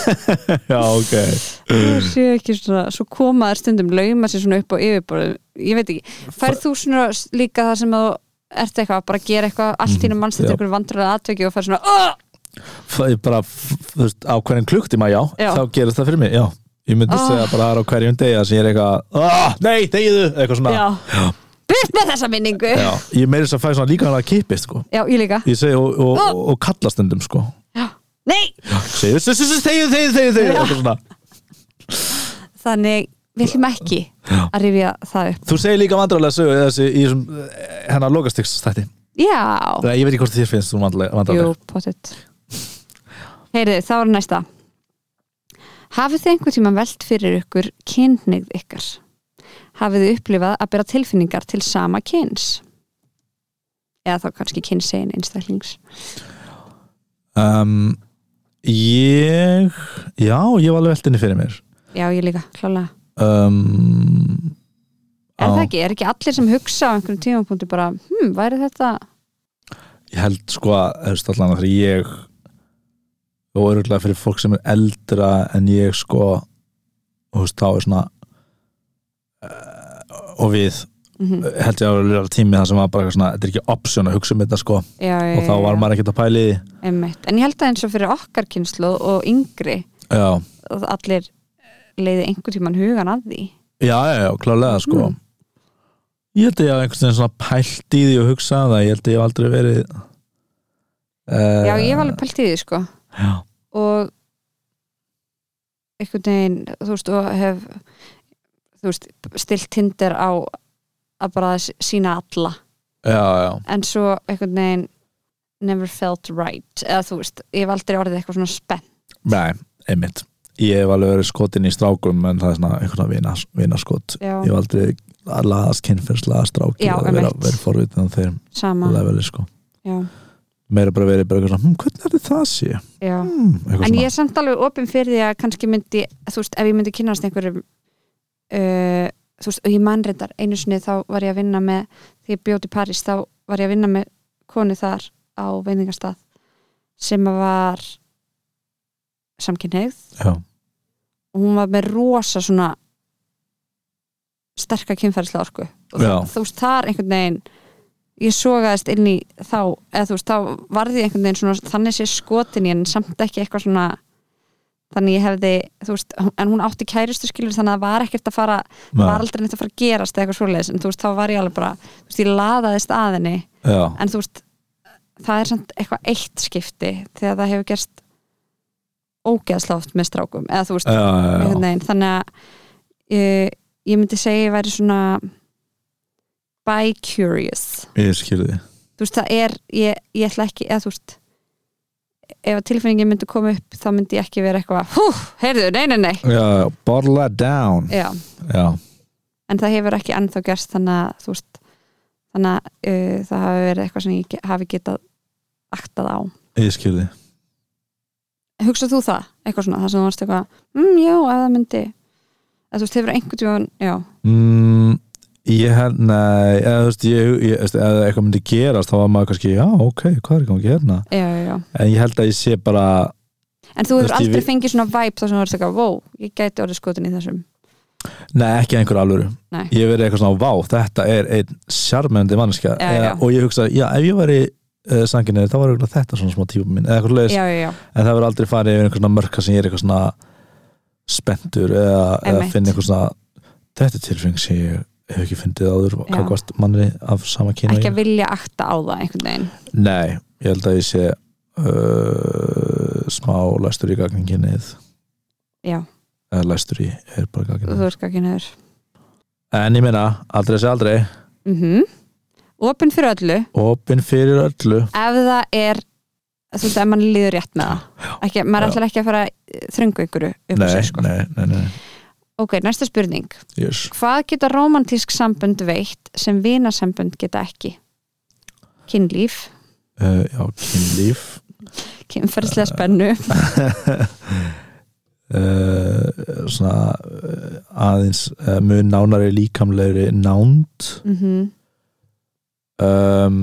Speaker 2: Já, ok
Speaker 1: Ég sé ekki svona, svo koma þær stundum lauma sér svona upp á yfirborðu ég veit ekki, færð þú svona líka það sem að þú ert eitthvað, bara að gera eitthvað allt ínum mannstættir
Speaker 2: já.
Speaker 1: ykkur vandröða atveki og færð svona "Ah!"
Speaker 2: Það er bara, f- þú veist, á hverjum klukktíma, já,
Speaker 1: Já.
Speaker 2: þá gerist það fyrir mig, já Ég myndi
Speaker 1: Ah.
Speaker 2: segja bara það er á hverjum degi þar sem ég er eitthvað ah, Nei, degiðu, eitthvað svona
Speaker 1: já, byrst með þessa minningu já,
Speaker 2: Já, Ég meiri þess að fæ svona líka hann að kipist sko.
Speaker 1: ég líka
Speaker 2: Ég segi og, og,
Speaker 1: Ah.
Speaker 2: og, og kalla stundum sko.
Speaker 1: já. nei,
Speaker 2: Segðu, segðu, segðu, segðu, segðu, segðu, segðu
Speaker 1: Já.
Speaker 2: eitthvað svona.
Speaker 1: þannig við ætlum ekki
Speaker 2: Já.
Speaker 1: að rifja það upp
Speaker 2: Þú segir líka vandrarlega sögu í þessi, í þessum, eh, hennar lokastiks þætti
Speaker 1: já,
Speaker 2: Þegar ég veit ekki hvort þér finnst þú vandrarlega
Speaker 1: Oh. jú, pottet heyrið, þá er næsta hafið þið einhver tíma velt fyrir ykkur kynnið ykkar hafið þið upplifað að bera tilfinningar til sama kyns eða þá kannski kynsegin einstaklings
Speaker 2: um, Ég Já, ég var alveg veltinni fyrir mér
Speaker 1: já, ég líka, klálega
Speaker 2: um,
Speaker 1: er
Speaker 2: á-
Speaker 1: það ekki, er ekki allir sem hugsa á einhverjum tímapunkti bara, hm, væri þetta
Speaker 2: ég held sko að þú veist, allan að fyrir ég og örgulega fyrir fólk sem er eldra en ég sko þú veist, þá er svona uh, og við
Speaker 1: Mhm.
Speaker 2: held ég að vera tími það sem var bara eitthvað svona, þetta er ekki option að hugsa um þetta sko
Speaker 1: já, já,
Speaker 2: og þá
Speaker 1: já,
Speaker 2: var
Speaker 1: já,
Speaker 2: maður ekkert að pæli því
Speaker 1: einmitt. en ég held að eins og fyrir okkar kynslu og yngri
Speaker 2: já,
Speaker 1: að allir leiði einhver tíman hugan að því
Speaker 2: já, já, já klálega sko
Speaker 1: Mm.
Speaker 2: ég held að ég hafa einhvern veginn svona pælt í því og hugsa um það, ég held að ég hef aldrei verið uh,
Speaker 1: já, ég var alveg pælt í því sko
Speaker 2: já,
Speaker 1: og einhvern veginn, þú veist, og hef þú veist, stilt tindir á að bara s- sína alla
Speaker 2: já, já,
Speaker 1: en svo einhvern veginn never felt right eða þú veist, ég hef aldrei orðið eitthvað svona spennt
Speaker 2: Nei, einmitt Ég hef alveg verið skotin í strákum en það er svona einhvern vina, vina skot
Speaker 1: já,
Speaker 2: Ég hef aldrei að laðast kynfers laðast stráki
Speaker 1: Já,
Speaker 2: og vera,
Speaker 1: einmitt.
Speaker 2: verið forvitin á þeim
Speaker 1: sama
Speaker 2: leveli sko
Speaker 1: já,
Speaker 2: Meira bara verið bara eitthvað svona, hm, hvernig er þetta það sé?
Speaker 1: já.
Speaker 2: Hmm, eitthvað
Speaker 1: en
Speaker 2: svona
Speaker 1: ég er samt alveg opin fyrir því að kannski myndi, þú veist, ef ég myndi kynnast einhverjum uh, þú veist, og ég mannreitar einu sinni þá var ég að vinna með, þegar ég bjóti París þá var ég að vinna með konu þar á veiningarstað sem að var samkynneigð
Speaker 2: Já,
Speaker 1: og hún var með rosa svona sterka kynferðislega orku og
Speaker 2: Já.
Speaker 1: þú veist, þar einhvern veginn ég sogaðist inn í þá eða þú veist, þá varði ég einhvern veginn svona þannig sé skotin í en samt ekki eitthvað svona þannig ég hefði, þú veist, en hún átti kæristu skilur þannig að það var ekkert að fara
Speaker 2: Nei.
Speaker 1: var aldrei neitt að fara að gerast eða eitthvað svoleiðis en þú veist, þá var ég alveg bara, þú veist, ég laðaðist að henni
Speaker 2: já,
Speaker 1: en þú veist, það er samt eitthvað eitt skipti þegar það hefur gerst ógeðslátt með strákum eða þú veist,
Speaker 2: já, já, já.
Speaker 1: einhvern veginn þannig að ég, ég myndi segja ég væri svona bi-curious
Speaker 2: ég skilði
Speaker 1: þú veist það er, ég, ég ætla ekki eða þú veist ef að tilfinningin myndi koma upp þá myndi ég ekki vera eitthvað hú, heyrðu, nei, nei, nei
Speaker 2: já, já, bottle that down
Speaker 1: já,
Speaker 2: já,
Speaker 1: en það hefur ekki ennþá gerst þannig að þú veist þannig að uh, það hafi verið eitthvað sem ég ge- hafi getað aktað á
Speaker 2: ég skilði
Speaker 1: hugsað þú það, eitthvað svona, það sem þú varst eitthvað mm, já, ef það myndi eða þú veist, hefur einhvern tímann, já,
Speaker 2: mm, ég held, nei eða, þú veist, ég, ég, eða eitthvað myndi gerast þá var maður kannski, já, ok, hvað er í gangi hérna
Speaker 1: já, já, já
Speaker 2: en ég held að ég sé bara
Speaker 1: En þú
Speaker 2: Þú
Speaker 1: hefur
Speaker 2: veist, ég
Speaker 1: aldrei
Speaker 2: vi-
Speaker 1: fengið svona væp þar sem þú verður eitthvað, wow, ég gæti orðið skotin í þessum
Speaker 2: Nei, ekki einhver alvöru
Speaker 1: Nei.
Speaker 2: Ég verið eitthvað svona, vá, þetta er einn sjarmendi mannskja
Speaker 1: Já, já.
Speaker 2: Og ég hugsa, já, ef ég væri uh, sanginni þá var örugglega þetta svona smá tíma mín eða eitthvað leis,
Speaker 1: Já, já, já,
Speaker 2: en það verður aldrei farið yfir einhver svona mörka sem ég er eitthvað svona spenntur eða, eða
Speaker 1: Einmitt.
Speaker 2: finn einhver svona þetta er tilfeng sem ég hef ekki fundið áður
Speaker 1: Já.
Speaker 2: kakvast manni af sama kynu
Speaker 1: ekki að vilja akta á það einhvern veginn
Speaker 2: Nei, ég held að ég sé uh, smá læstur í gagninginnið
Speaker 1: Já,
Speaker 2: eða læstur í er bara
Speaker 1: þú
Speaker 2: gagninginnið
Speaker 1: ert ekki neður
Speaker 2: En ég meina, aldrei sé aldrei
Speaker 1: mm Opin fyrir öllu
Speaker 2: opinn fyrir öllu
Speaker 1: ef það er þú veist, ef mann líður rétt með það ekki, maður
Speaker 2: Já.
Speaker 1: ætlar ekki að fara að þröngu ykkur upp á
Speaker 2: nei,
Speaker 1: sig sko.
Speaker 2: nei, nei, nei,
Speaker 1: Ok, næsta spurning
Speaker 2: yes.
Speaker 1: Hvað geta romantísk sambönd veitt sem vinasambönd geta ekki? Kynlíf,
Speaker 2: uh, já, kynlíf Eh.
Speaker 1: kynferðslega spennu
Speaker 2: uh, svona uh, aðeins uh, mun nánari líkamlegri nánd
Speaker 1: mm
Speaker 2: um,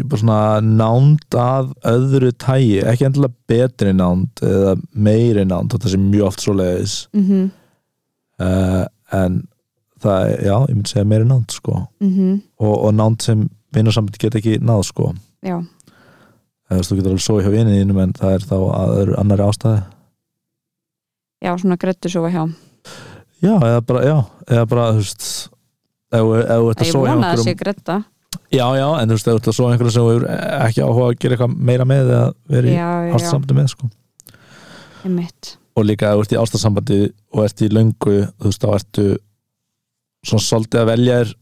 Speaker 2: ég bara svona nánd að öðru tægi ekki endilega betri nánd eða meiri nánd, þetta sé mjög oft svoleiðis
Speaker 1: mm -hmm.
Speaker 2: uh, en það, er- já, ég myndi segja meiri nánd sko,
Speaker 1: mhm.
Speaker 2: og, og nánd sem vinnarsambind get ekki náð sko
Speaker 1: Já,
Speaker 2: eða þú veist, þú getur alveg sóið hjá vinið þínum en það er þá að öðru annari ástæði
Speaker 1: já, svona gröttu svo hjá
Speaker 2: já, eða bara, já, eða bara þú veist, ef ef þú ert að
Speaker 1: Ég
Speaker 2: sóið hjá
Speaker 1: vona að það
Speaker 2: einhverjum
Speaker 1: sé grötta
Speaker 2: já, já, en þú veist, ef þú ert að sóið einhverjum sem þú hefur ekki áhuga að gera eitthvað meira með eða verið í
Speaker 1: Já, já,
Speaker 2: ástarsambandi með, sko
Speaker 1: ég mitt
Speaker 2: og líka ef þú ert í ástarsambandi og ert í löngu, þú veist, þá ertu svona svolítið að velja þér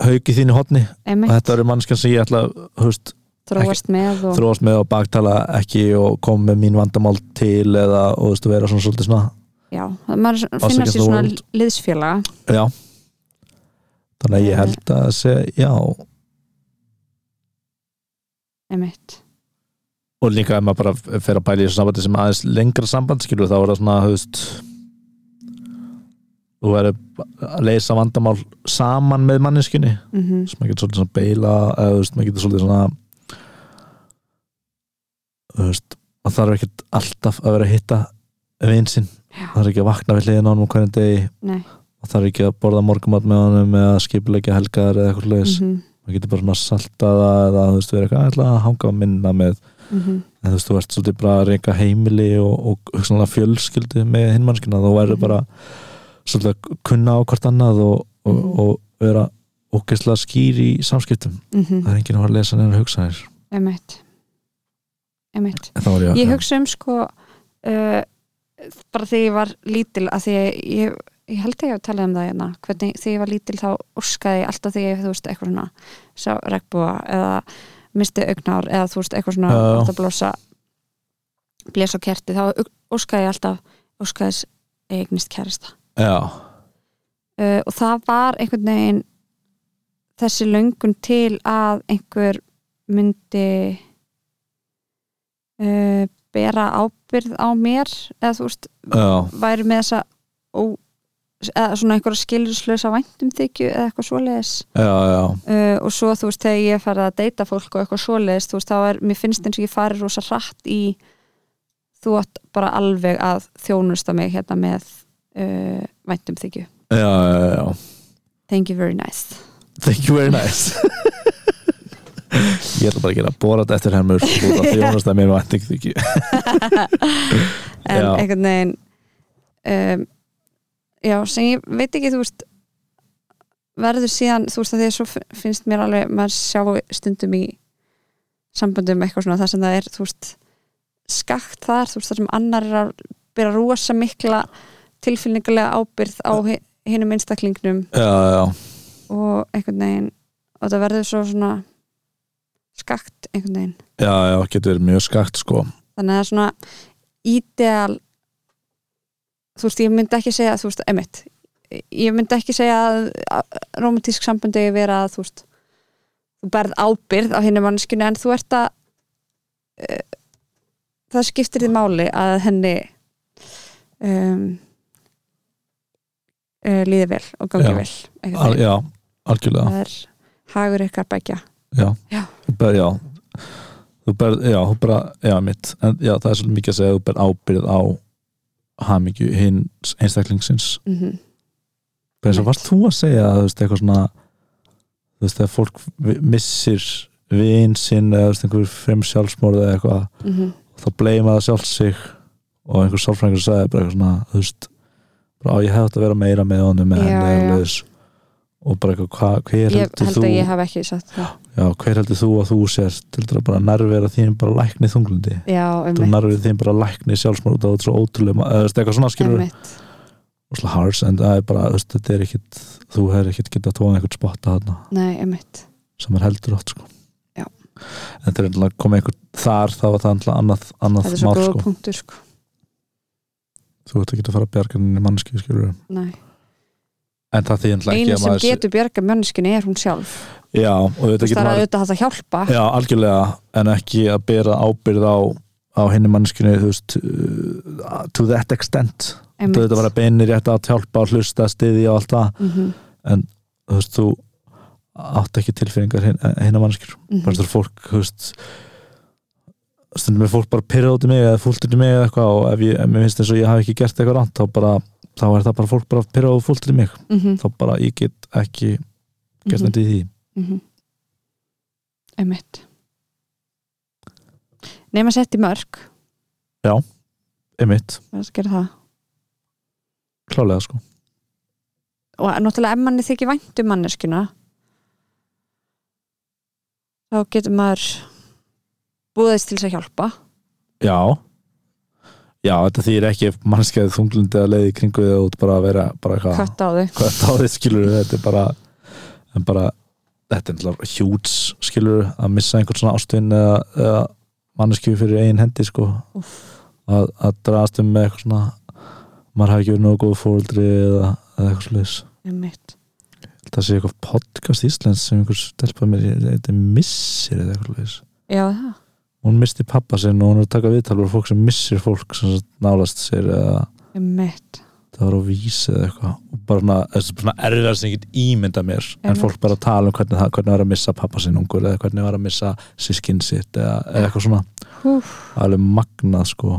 Speaker 2: haug í þínu hotni og þetta eru mannskjarn sem ég ætla að, þú veist,
Speaker 1: Þróast með og
Speaker 2: þróast með og baktala ekki og koma með mín vandamál til eða, og þú veist, vera svona svolítið svona
Speaker 1: Já, maður
Speaker 2: Ásakir
Speaker 1: finna sér
Speaker 2: the
Speaker 1: svona
Speaker 2: world.
Speaker 1: liðsfélaga
Speaker 2: Já Þannig að ég held að segja já og
Speaker 1: einmitt,
Speaker 2: líka ef maður bara fer að bæla í þessu sambandi sem aðeins lengra samband skilur þá er það svona höfst, þú verður að leysa vandamál saman með manneskunni
Speaker 1: mm
Speaker 2: sem maður getur svolítið svona beila eða þú veist, maður getur svolítið svona þú veist það þarf ekkert alltaf að vera að hitta vinsinn,
Speaker 1: Já.
Speaker 2: það þarf ekki að vakna við hliðin á honum hvernig degi,
Speaker 1: nei
Speaker 2: það þarf ekki að borða morgumat með honum eða skipulegja helgar eða eitthvað leis
Speaker 1: mm
Speaker 2: maður getur bara svona saltað það eða þú veist, verið eitthvað ætla að hanga að minna með
Speaker 1: -hmm.
Speaker 2: en þú veist, þú ert svolítið bara að reyka heimili og, og hugsanlega fjölskyldu með hinmannskina þú
Speaker 1: Mhm.
Speaker 2: verður bara svolítið að kunna á hvort annað og, og,
Speaker 1: Mhm.
Speaker 2: og vera ógeðslega skýr í samskiptum það er enginn að fara að lesa neina hugsa þér
Speaker 1: mhm, einmitt einmitt,
Speaker 2: en þá var ég,
Speaker 1: ég hugsa um sko uh, bara þegar ég var lítil að því ég, ég, ég held að ég hafi talað um það hérna, hvernig þegar ég var lítil þá orskaði alltaf þegar ég, þú veist, eitthvað svona sá regnbúa eða misti augnár eða þú veist, eitthvað svona
Speaker 2: Já, já.
Speaker 1: átt að blossa blés á kerti, þá orskaði ég alltaf orskaðis eignist kærasta
Speaker 2: já,
Speaker 1: uh, og það var einhvern veginn þessi löngun til að einhver myndi uh, bera ábyrð á mér eða þú veist,
Speaker 2: já,
Speaker 1: væri með þessa ó, eða svona einhverja skilurslösa væntumþykju eða eitthvað svoleiðis
Speaker 2: já, já
Speaker 1: uh, og svo þú veist, þegar ég farið að deyta fólk og eitthvað svoleiðis, þú veist, þá er, mér finnst eins og ég farið rosa hratt í þú átt bara alveg að þjónusta mig hérna með uh, væntumþykju
Speaker 2: já, já, já,
Speaker 1: thank you very nice
Speaker 2: Thank you very nice Ég ætla bara að gera borat eftir hermur út af því honest að mér var ekki þykju
Speaker 1: en
Speaker 2: Já.
Speaker 1: einhvern veginn um, já, sem ég veit ekki þú veist verður síðan, þú veist að því að svo fi- finnst mér alveg, maður sjá stundum í samböndum eitthvað svona það sem það er, þú veist skakt þar, þú veist það sem annar er að byrja rosa mikla tilfinningulega ábyrgð á hi- hinum einstaklingnum
Speaker 2: Já, já,
Speaker 1: og einhvern veginn og það verður svo svona skakt einhvern veginn
Speaker 2: já, já, getur verið mjög skakt sko
Speaker 1: þannig að það er svona ídeal þú veist, ég myndi ekki segja þú veist, emitt ég myndi ekki segja að, að romantísk sambandi eigi að vera að þú veist þú berð ábyrð á henni mannskinu en þú ert að uh, það skiptir þið máli að henni um, uh, líði vel og gangi
Speaker 2: Já.
Speaker 1: vel einhvern
Speaker 2: Al,
Speaker 1: veginn.
Speaker 2: Já, algjörlega
Speaker 1: það er hagur ykkar begja
Speaker 2: Já,
Speaker 1: Já.
Speaker 2: Þú ber, já. Þú ber, já, þú bara, já, mitt en, já, það er svolítið mikið að segja að þú ber ábyrð á hamingju hins einstaklingsins
Speaker 1: mm
Speaker 2: Hvað er svo,
Speaker 1: Mitt.
Speaker 2: varst þú að segja að þú veist eitthvað svona þú veist þegar fólk vi- missir vin sinn eða þú veist einhver frem sjálfsmorð eða eitthvað
Speaker 1: mhm.
Speaker 2: þá bleima það sjálf sig og einhver sálfrængur sagði bara eitthvað svona þú veist, bara á ég hefði átt að vera meira með honum með
Speaker 1: Já,
Speaker 2: henni eða
Speaker 1: já.
Speaker 2: leðis og bara eitthvað, hva, hver
Speaker 1: ég
Speaker 2: heldur
Speaker 1: held
Speaker 2: þú
Speaker 1: að ég haf ekki sagt það
Speaker 2: já, hver heldur þú að þú sért til þetta bara nærvera þín bara lækni þunglundi
Speaker 1: já,
Speaker 2: þú
Speaker 1: um
Speaker 2: nærvera þín bara lækni sjálfsmorð og það er svo ótrúlega, ma- eða þú veist, eitthvað svona skilur
Speaker 1: mitt
Speaker 2: rosalega harsh en það er bara, þú veist, þetta er ekkit þú hefur ekkit getað tóðan einhvern spotta þarna
Speaker 1: nei, um mitt
Speaker 2: sem er heldur átt sko
Speaker 1: Já.
Speaker 2: en þegar náttúrulega kom einhver þar þá var það náttúrulega annað, annað
Speaker 1: þetta er svo
Speaker 2: mál
Speaker 1: góða
Speaker 2: sko
Speaker 1: punktur sko
Speaker 2: þú ert ekki að fara að bjarga henni mannski skilur
Speaker 1: Nei.
Speaker 2: en það þýðir náttúrulega ekki
Speaker 1: einu
Speaker 2: að
Speaker 1: sem
Speaker 2: maður sé-
Speaker 1: getur bjarga mönnskinni er hún sjálf
Speaker 2: já, og
Speaker 1: það er
Speaker 2: þetta getur
Speaker 1: að
Speaker 2: maður
Speaker 1: auðvitað hægt að hjálpa
Speaker 2: já, algjörlega, en ekki að bera ábyrð á, á henni mannskinu þú veist, uh, to that extent
Speaker 1: Einmitt.
Speaker 2: þú veit að vera beinir rétt að hjálpa og hlusta, stiðja og allt það
Speaker 1: Mhm,
Speaker 2: þú veist, þú átt ekki tilfinningar henni mannskinu
Speaker 1: mhm.
Speaker 2: bara þar fólk þú veist, stundum er fólk bara pyrrað út í mig eða fúlt út í mig eða eitthvað og ef ég, ef mér finnst eins og ég hafi ekki gert eitthvað ránt þá bara, þá er það bara fólk bara pyrrað og fúlt út í mig,
Speaker 1: Mhm,
Speaker 2: þá bara ég get ekki gert
Speaker 1: mhm,
Speaker 2: þetta í því
Speaker 1: mhm. einmitt nema setti mörg
Speaker 2: einmitt,
Speaker 1: verður að gera það
Speaker 2: klálega sko
Speaker 1: og náttúrulega ef manni þykir vænt um manneskuna þá getur maður búðist til þess að hjálpa
Speaker 2: já, já, þetta þýr ekki mannskæði þunglundi að leiði kringu þið út bara að vera, bara eitthvað
Speaker 1: kött á þau
Speaker 2: hvað þetta á því skilur þetta er bara, en bara þetta er náttúrulega hjúts skilur að missa einhvern svona ástun eða, eða manneskju fyrir eigin hendi sko að, að draðast um með eitthvað svona maður hafi ekki verið nógu góð fóreldri eða, eða eitthvað sliðis
Speaker 1: einmitt
Speaker 2: það sé eitthvað podcast Íslands sem einhver stelpa mér þetta er missir eða eitthvað sliðis
Speaker 1: já það
Speaker 2: hún misti pappa sinn og hún er að taka viðtal og fólk sem missir fólk sem sagt nálast sér eða
Speaker 1: Einmitt.
Speaker 2: það var á vísi eða eitthvað og bara svona, þessi bara svona erfiðar sem ég get ímynda mér en
Speaker 1: Einmitt.
Speaker 2: fólk bara tala um hvernig, það, hvernig var að missa pappa sinn ungur eða hvernig var að missa sískinn sitt eða, eða eitthvað svona
Speaker 1: Húf.
Speaker 2: alveg magnað sko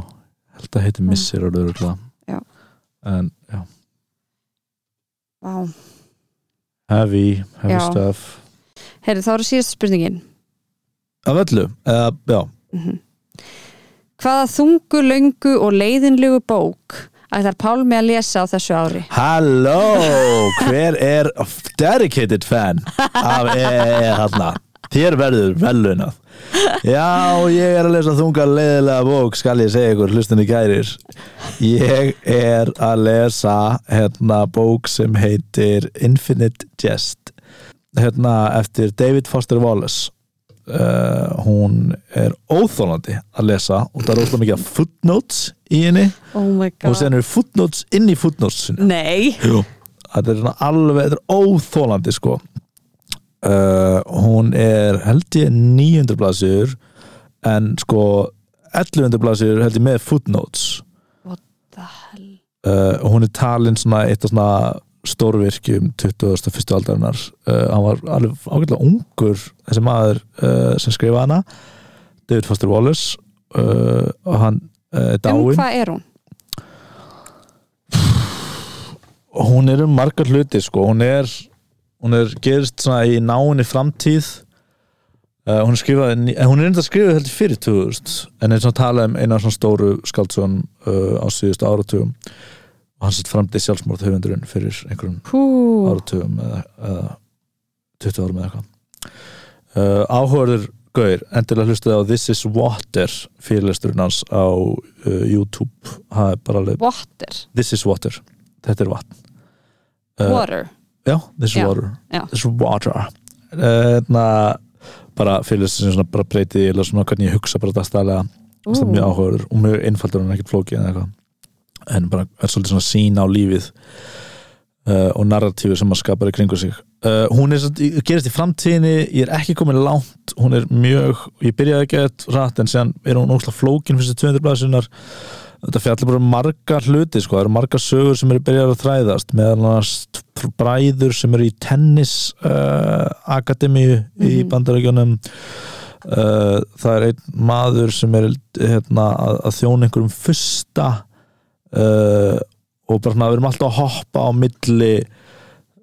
Speaker 2: held að heiti
Speaker 1: Mm.
Speaker 2: missir og lögurlega
Speaker 1: Já.
Speaker 2: en já,
Speaker 1: Vá.
Speaker 2: heavy, heavy
Speaker 1: Já.
Speaker 2: stuff
Speaker 1: Heyrðu, þá eru síðasta spurningin.
Speaker 2: af öllu, eða, já
Speaker 1: Mhm. Hvaða þungu, löngu og leiðinlegu bók ætlar Pálmi að lesa á þessu ári?
Speaker 2: Halló, hver er dedicated fan af EEE þarna? Þér verður velunað. Já, ég er að lesa þunga leiðilega bók, skal ég segja ykkur, hlustinni kærir. Ég er að lesa hérna bók sem heitir Infinite Jest, hérna eftir David Foster Wallace. Uh, hún er óþólandi að lesa og það er óþá mikið af footnotes í henni
Speaker 1: Oh my
Speaker 2: og sen eru footnotes inn í footnotesinu
Speaker 1: Nei.
Speaker 2: Jú. Þetta er svona alveg, þetta er óþólandi sko uh, Hún er held ég 900 blaðsjur en sko 1100 blaðsjur held ég með footnotes
Speaker 1: The hell.
Speaker 2: uh, Hún er talin svona eitt af svona stórvirkjum 21. aldarinnar uh, Hann var alveg ágætlega ungur þessi maður uh, sem skrifa hana David Foster Wallace uh, og hann uh,
Speaker 1: Um
Speaker 2: dáin
Speaker 1: hvað er hún?
Speaker 2: hún er um margar hluti sko, hún er hún er gerist svona í náinni framtíð uh, hún skrifaði ný- eh, hún er enda skrifaði heldur fyrir 2000 en er svona talað um eina svona stóru skáldsson uh, á síðustu áratugum og hann sett framtíð sjálfsmórð höfundurinn fyrir einhverjum
Speaker 1: Hú,
Speaker 2: áratugum eða, eða 20 árum eða eitthvað uh, áhörður Gaur, endilega hlustaði á This is Water fyrirlesturinn hans á uh, YouTube, það er bara alveg
Speaker 1: water,
Speaker 2: This is Water, þetta er vatn uh,
Speaker 1: water
Speaker 2: Já, This is
Speaker 1: Já,
Speaker 2: Water
Speaker 1: já.
Speaker 2: This is Water uh, na, bara fyrirlesturinn svona bara breyti eða svona hvernig ég hugsa bara dagstælega
Speaker 1: Ú,
Speaker 2: það er mjög áhugaður og mjög einfaldur en ekkert flókið en eitthvað en bara er svolítið svona sín á lífið uh, og narratífi sem maður skapar í kringu sig uh, hún er, samt- gerist í framtíðinni ég er ekki komin langt, hún er mjög ég byrjaði ekki eitthvað rætt en séðan er hún óslega flókin fyrir þessi 200 blæðsunar þetta fjallar bara um margar hluti sko. það eru margar sögur sem eru byrjar að þræðast meðal annars t- bræður sem eru í tennis uh, akademíu í
Speaker 1: Mhm.
Speaker 2: bandarækjunum uh, það er einn maður sem er hérna, að, að þjóna einhverjum fusta uh, og bara svona við erum alltaf að hoppa á milli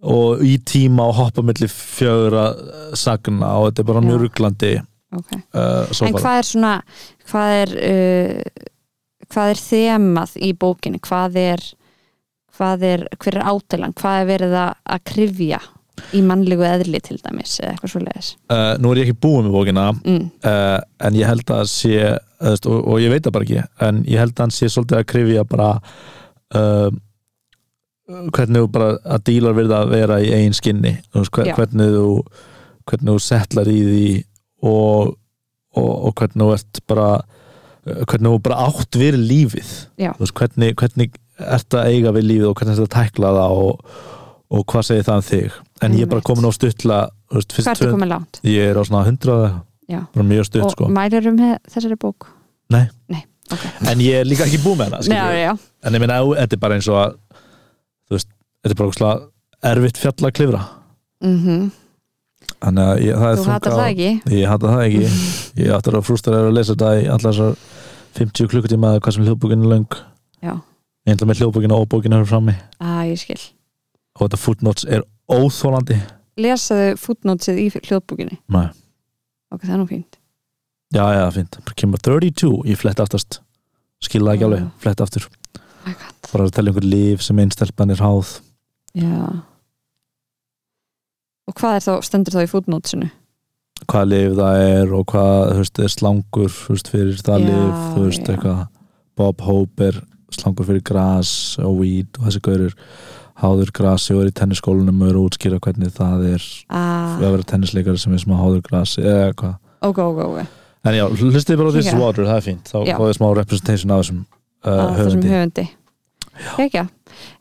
Speaker 2: og í tíma og hoppa á milli fjögra eh, sagna og þetta er bara
Speaker 1: Já.
Speaker 2: mjög rugglandi
Speaker 1: ok.
Speaker 2: uh, svo
Speaker 1: En
Speaker 2: bara
Speaker 1: hvað er svona hvað er uh, hvað er þemað í bókinu hvað er, hvað er hver er átelan, hvað er verið að, að krifja í mannlegu eðli til dæmis eða eitthvað svo leiðis
Speaker 2: uh, nú er ég ekki búið með bókina
Speaker 1: mm.
Speaker 2: uh, en ég held að sé eh, þú veist, og, og ég veit það bara ekki en ég held að hann sé svolítið að krifja bara uh, hvernig þú bara að dílar við að vera í eigin skinni þú veist, hver,
Speaker 1: Já.
Speaker 2: hvernig þú hvernig þú settlar í því og, og, og hvernig þú ert bara uh, hvernig þú bara átt við lífið
Speaker 1: Já.
Speaker 2: Þú veist, hvernig, hvernig ert að eiga við lífið og hvernig ert að tækla það og, og hvað segir það um þig en ég er bara
Speaker 1: Einmitt.
Speaker 2: komin á stuttla þú veist,
Speaker 1: hvað er
Speaker 2: fyrst
Speaker 1: þetta
Speaker 2: tvö-
Speaker 1: komið langt?
Speaker 2: ég er á svona 100
Speaker 1: Já.
Speaker 2: bara mjög stutt
Speaker 1: og
Speaker 2: sko
Speaker 1: mælir um þessari bók?
Speaker 2: Nei.
Speaker 1: Nei, ok
Speaker 2: en ég er líka ekki búið með hana
Speaker 1: Nei, já,
Speaker 2: skilurðu.
Speaker 1: já.
Speaker 2: en ég meina, ef- þetta er bara eins og að þú veist, þetta er bara óslega erfitt fjall að klifra
Speaker 1: Mm
Speaker 2: þannig að ég, það er
Speaker 1: þú hatar það ekki
Speaker 2: ég hata það ekki, ég hata það frústaraður að lesa þetta í allar þessar 50 klukkutíma eða hvað sem hljóðbókin er löng
Speaker 1: Já.
Speaker 2: ég ætla með hljóðbókin og óbókin er frammi
Speaker 1: að Ah, ég skil
Speaker 2: og þetta footnotes er óþólandi
Speaker 1: lesaðu footnotesið í hljóðbókinni
Speaker 2: Nei.
Speaker 1: ok, það er nú fínt
Speaker 2: já, já, fínt, bara kemur 32 ég flett aftast, skilða ekki alveg
Speaker 1: Já.
Speaker 2: flett aftur,
Speaker 1: Oh my god
Speaker 2: bara að tella einhver líf sem einstelpan er háð
Speaker 1: já og hvað er þá, stendur þá í footnotesinu?
Speaker 2: hvað lif það er og hvað þú veist, er slangur þú veist, fyrir það
Speaker 1: Já,
Speaker 2: lif þú
Speaker 1: já.
Speaker 2: veist, eitthvað, Bob Hope er slangur fyrir gras og weed og þessi gaurur háður grasi og er í tennisskólanum og er að útskýra hvernig það er
Speaker 1: Ah,
Speaker 2: að vera tennisleikari sem er sem að háður grasi eða eitthvað
Speaker 1: ok, ok, ok
Speaker 2: en já, hlustið bara á This is
Speaker 1: Já.
Speaker 2: Water, það er fínt þá
Speaker 1: Já.
Speaker 2: fáið smá representation af þessum uh,
Speaker 1: að þessum
Speaker 2: höfundi
Speaker 1: Ah, höfundi Kekja.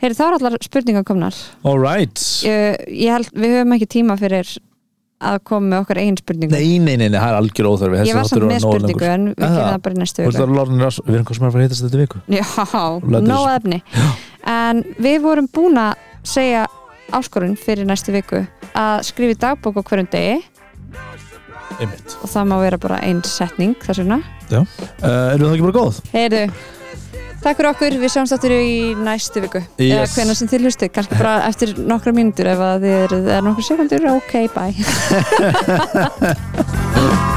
Speaker 1: Heyri, það er allar spurningar komnar
Speaker 2: Alright
Speaker 1: ég, ég held, við höfum ekki tíma fyrir að koma með okkar eigin spurningu
Speaker 2: Nei, nei, nei, nei, það er algjör óþörfi
Speaker 1: ég var samt með spurningu en við
Speaker 2: Aha.
Speaker 1: gerum það bara í næstu
Speaker 2: Við
Speaker 1: viku
Speaker 2: erum hvað sem er að fara að heitast þetta viku
Speaker 1: Já,
Speaker 2: Lætur
Speaker 1: nóg
Speaker 2: þessu-
Speaker 1: efni En við vorum búin að segja áskorun fyrir næstu viku að skrifa í dagbók á hverjum degi
Speaker 2: Einmitt
Speaker 1: og það má vera bara ein setning þess vegna
Speaker 2: uh, Erum við það ekki bara góð?
Speaker 1: Heyrðu, takk fyrir okkur við sjáumst áttur í næstu viku eða
Speaker 2: Yes.
Speaker 1: hvenær sem til hlustu, kannski bara eftir nokkra mínútur ef að þið eru er nokkra sekundur ok, bye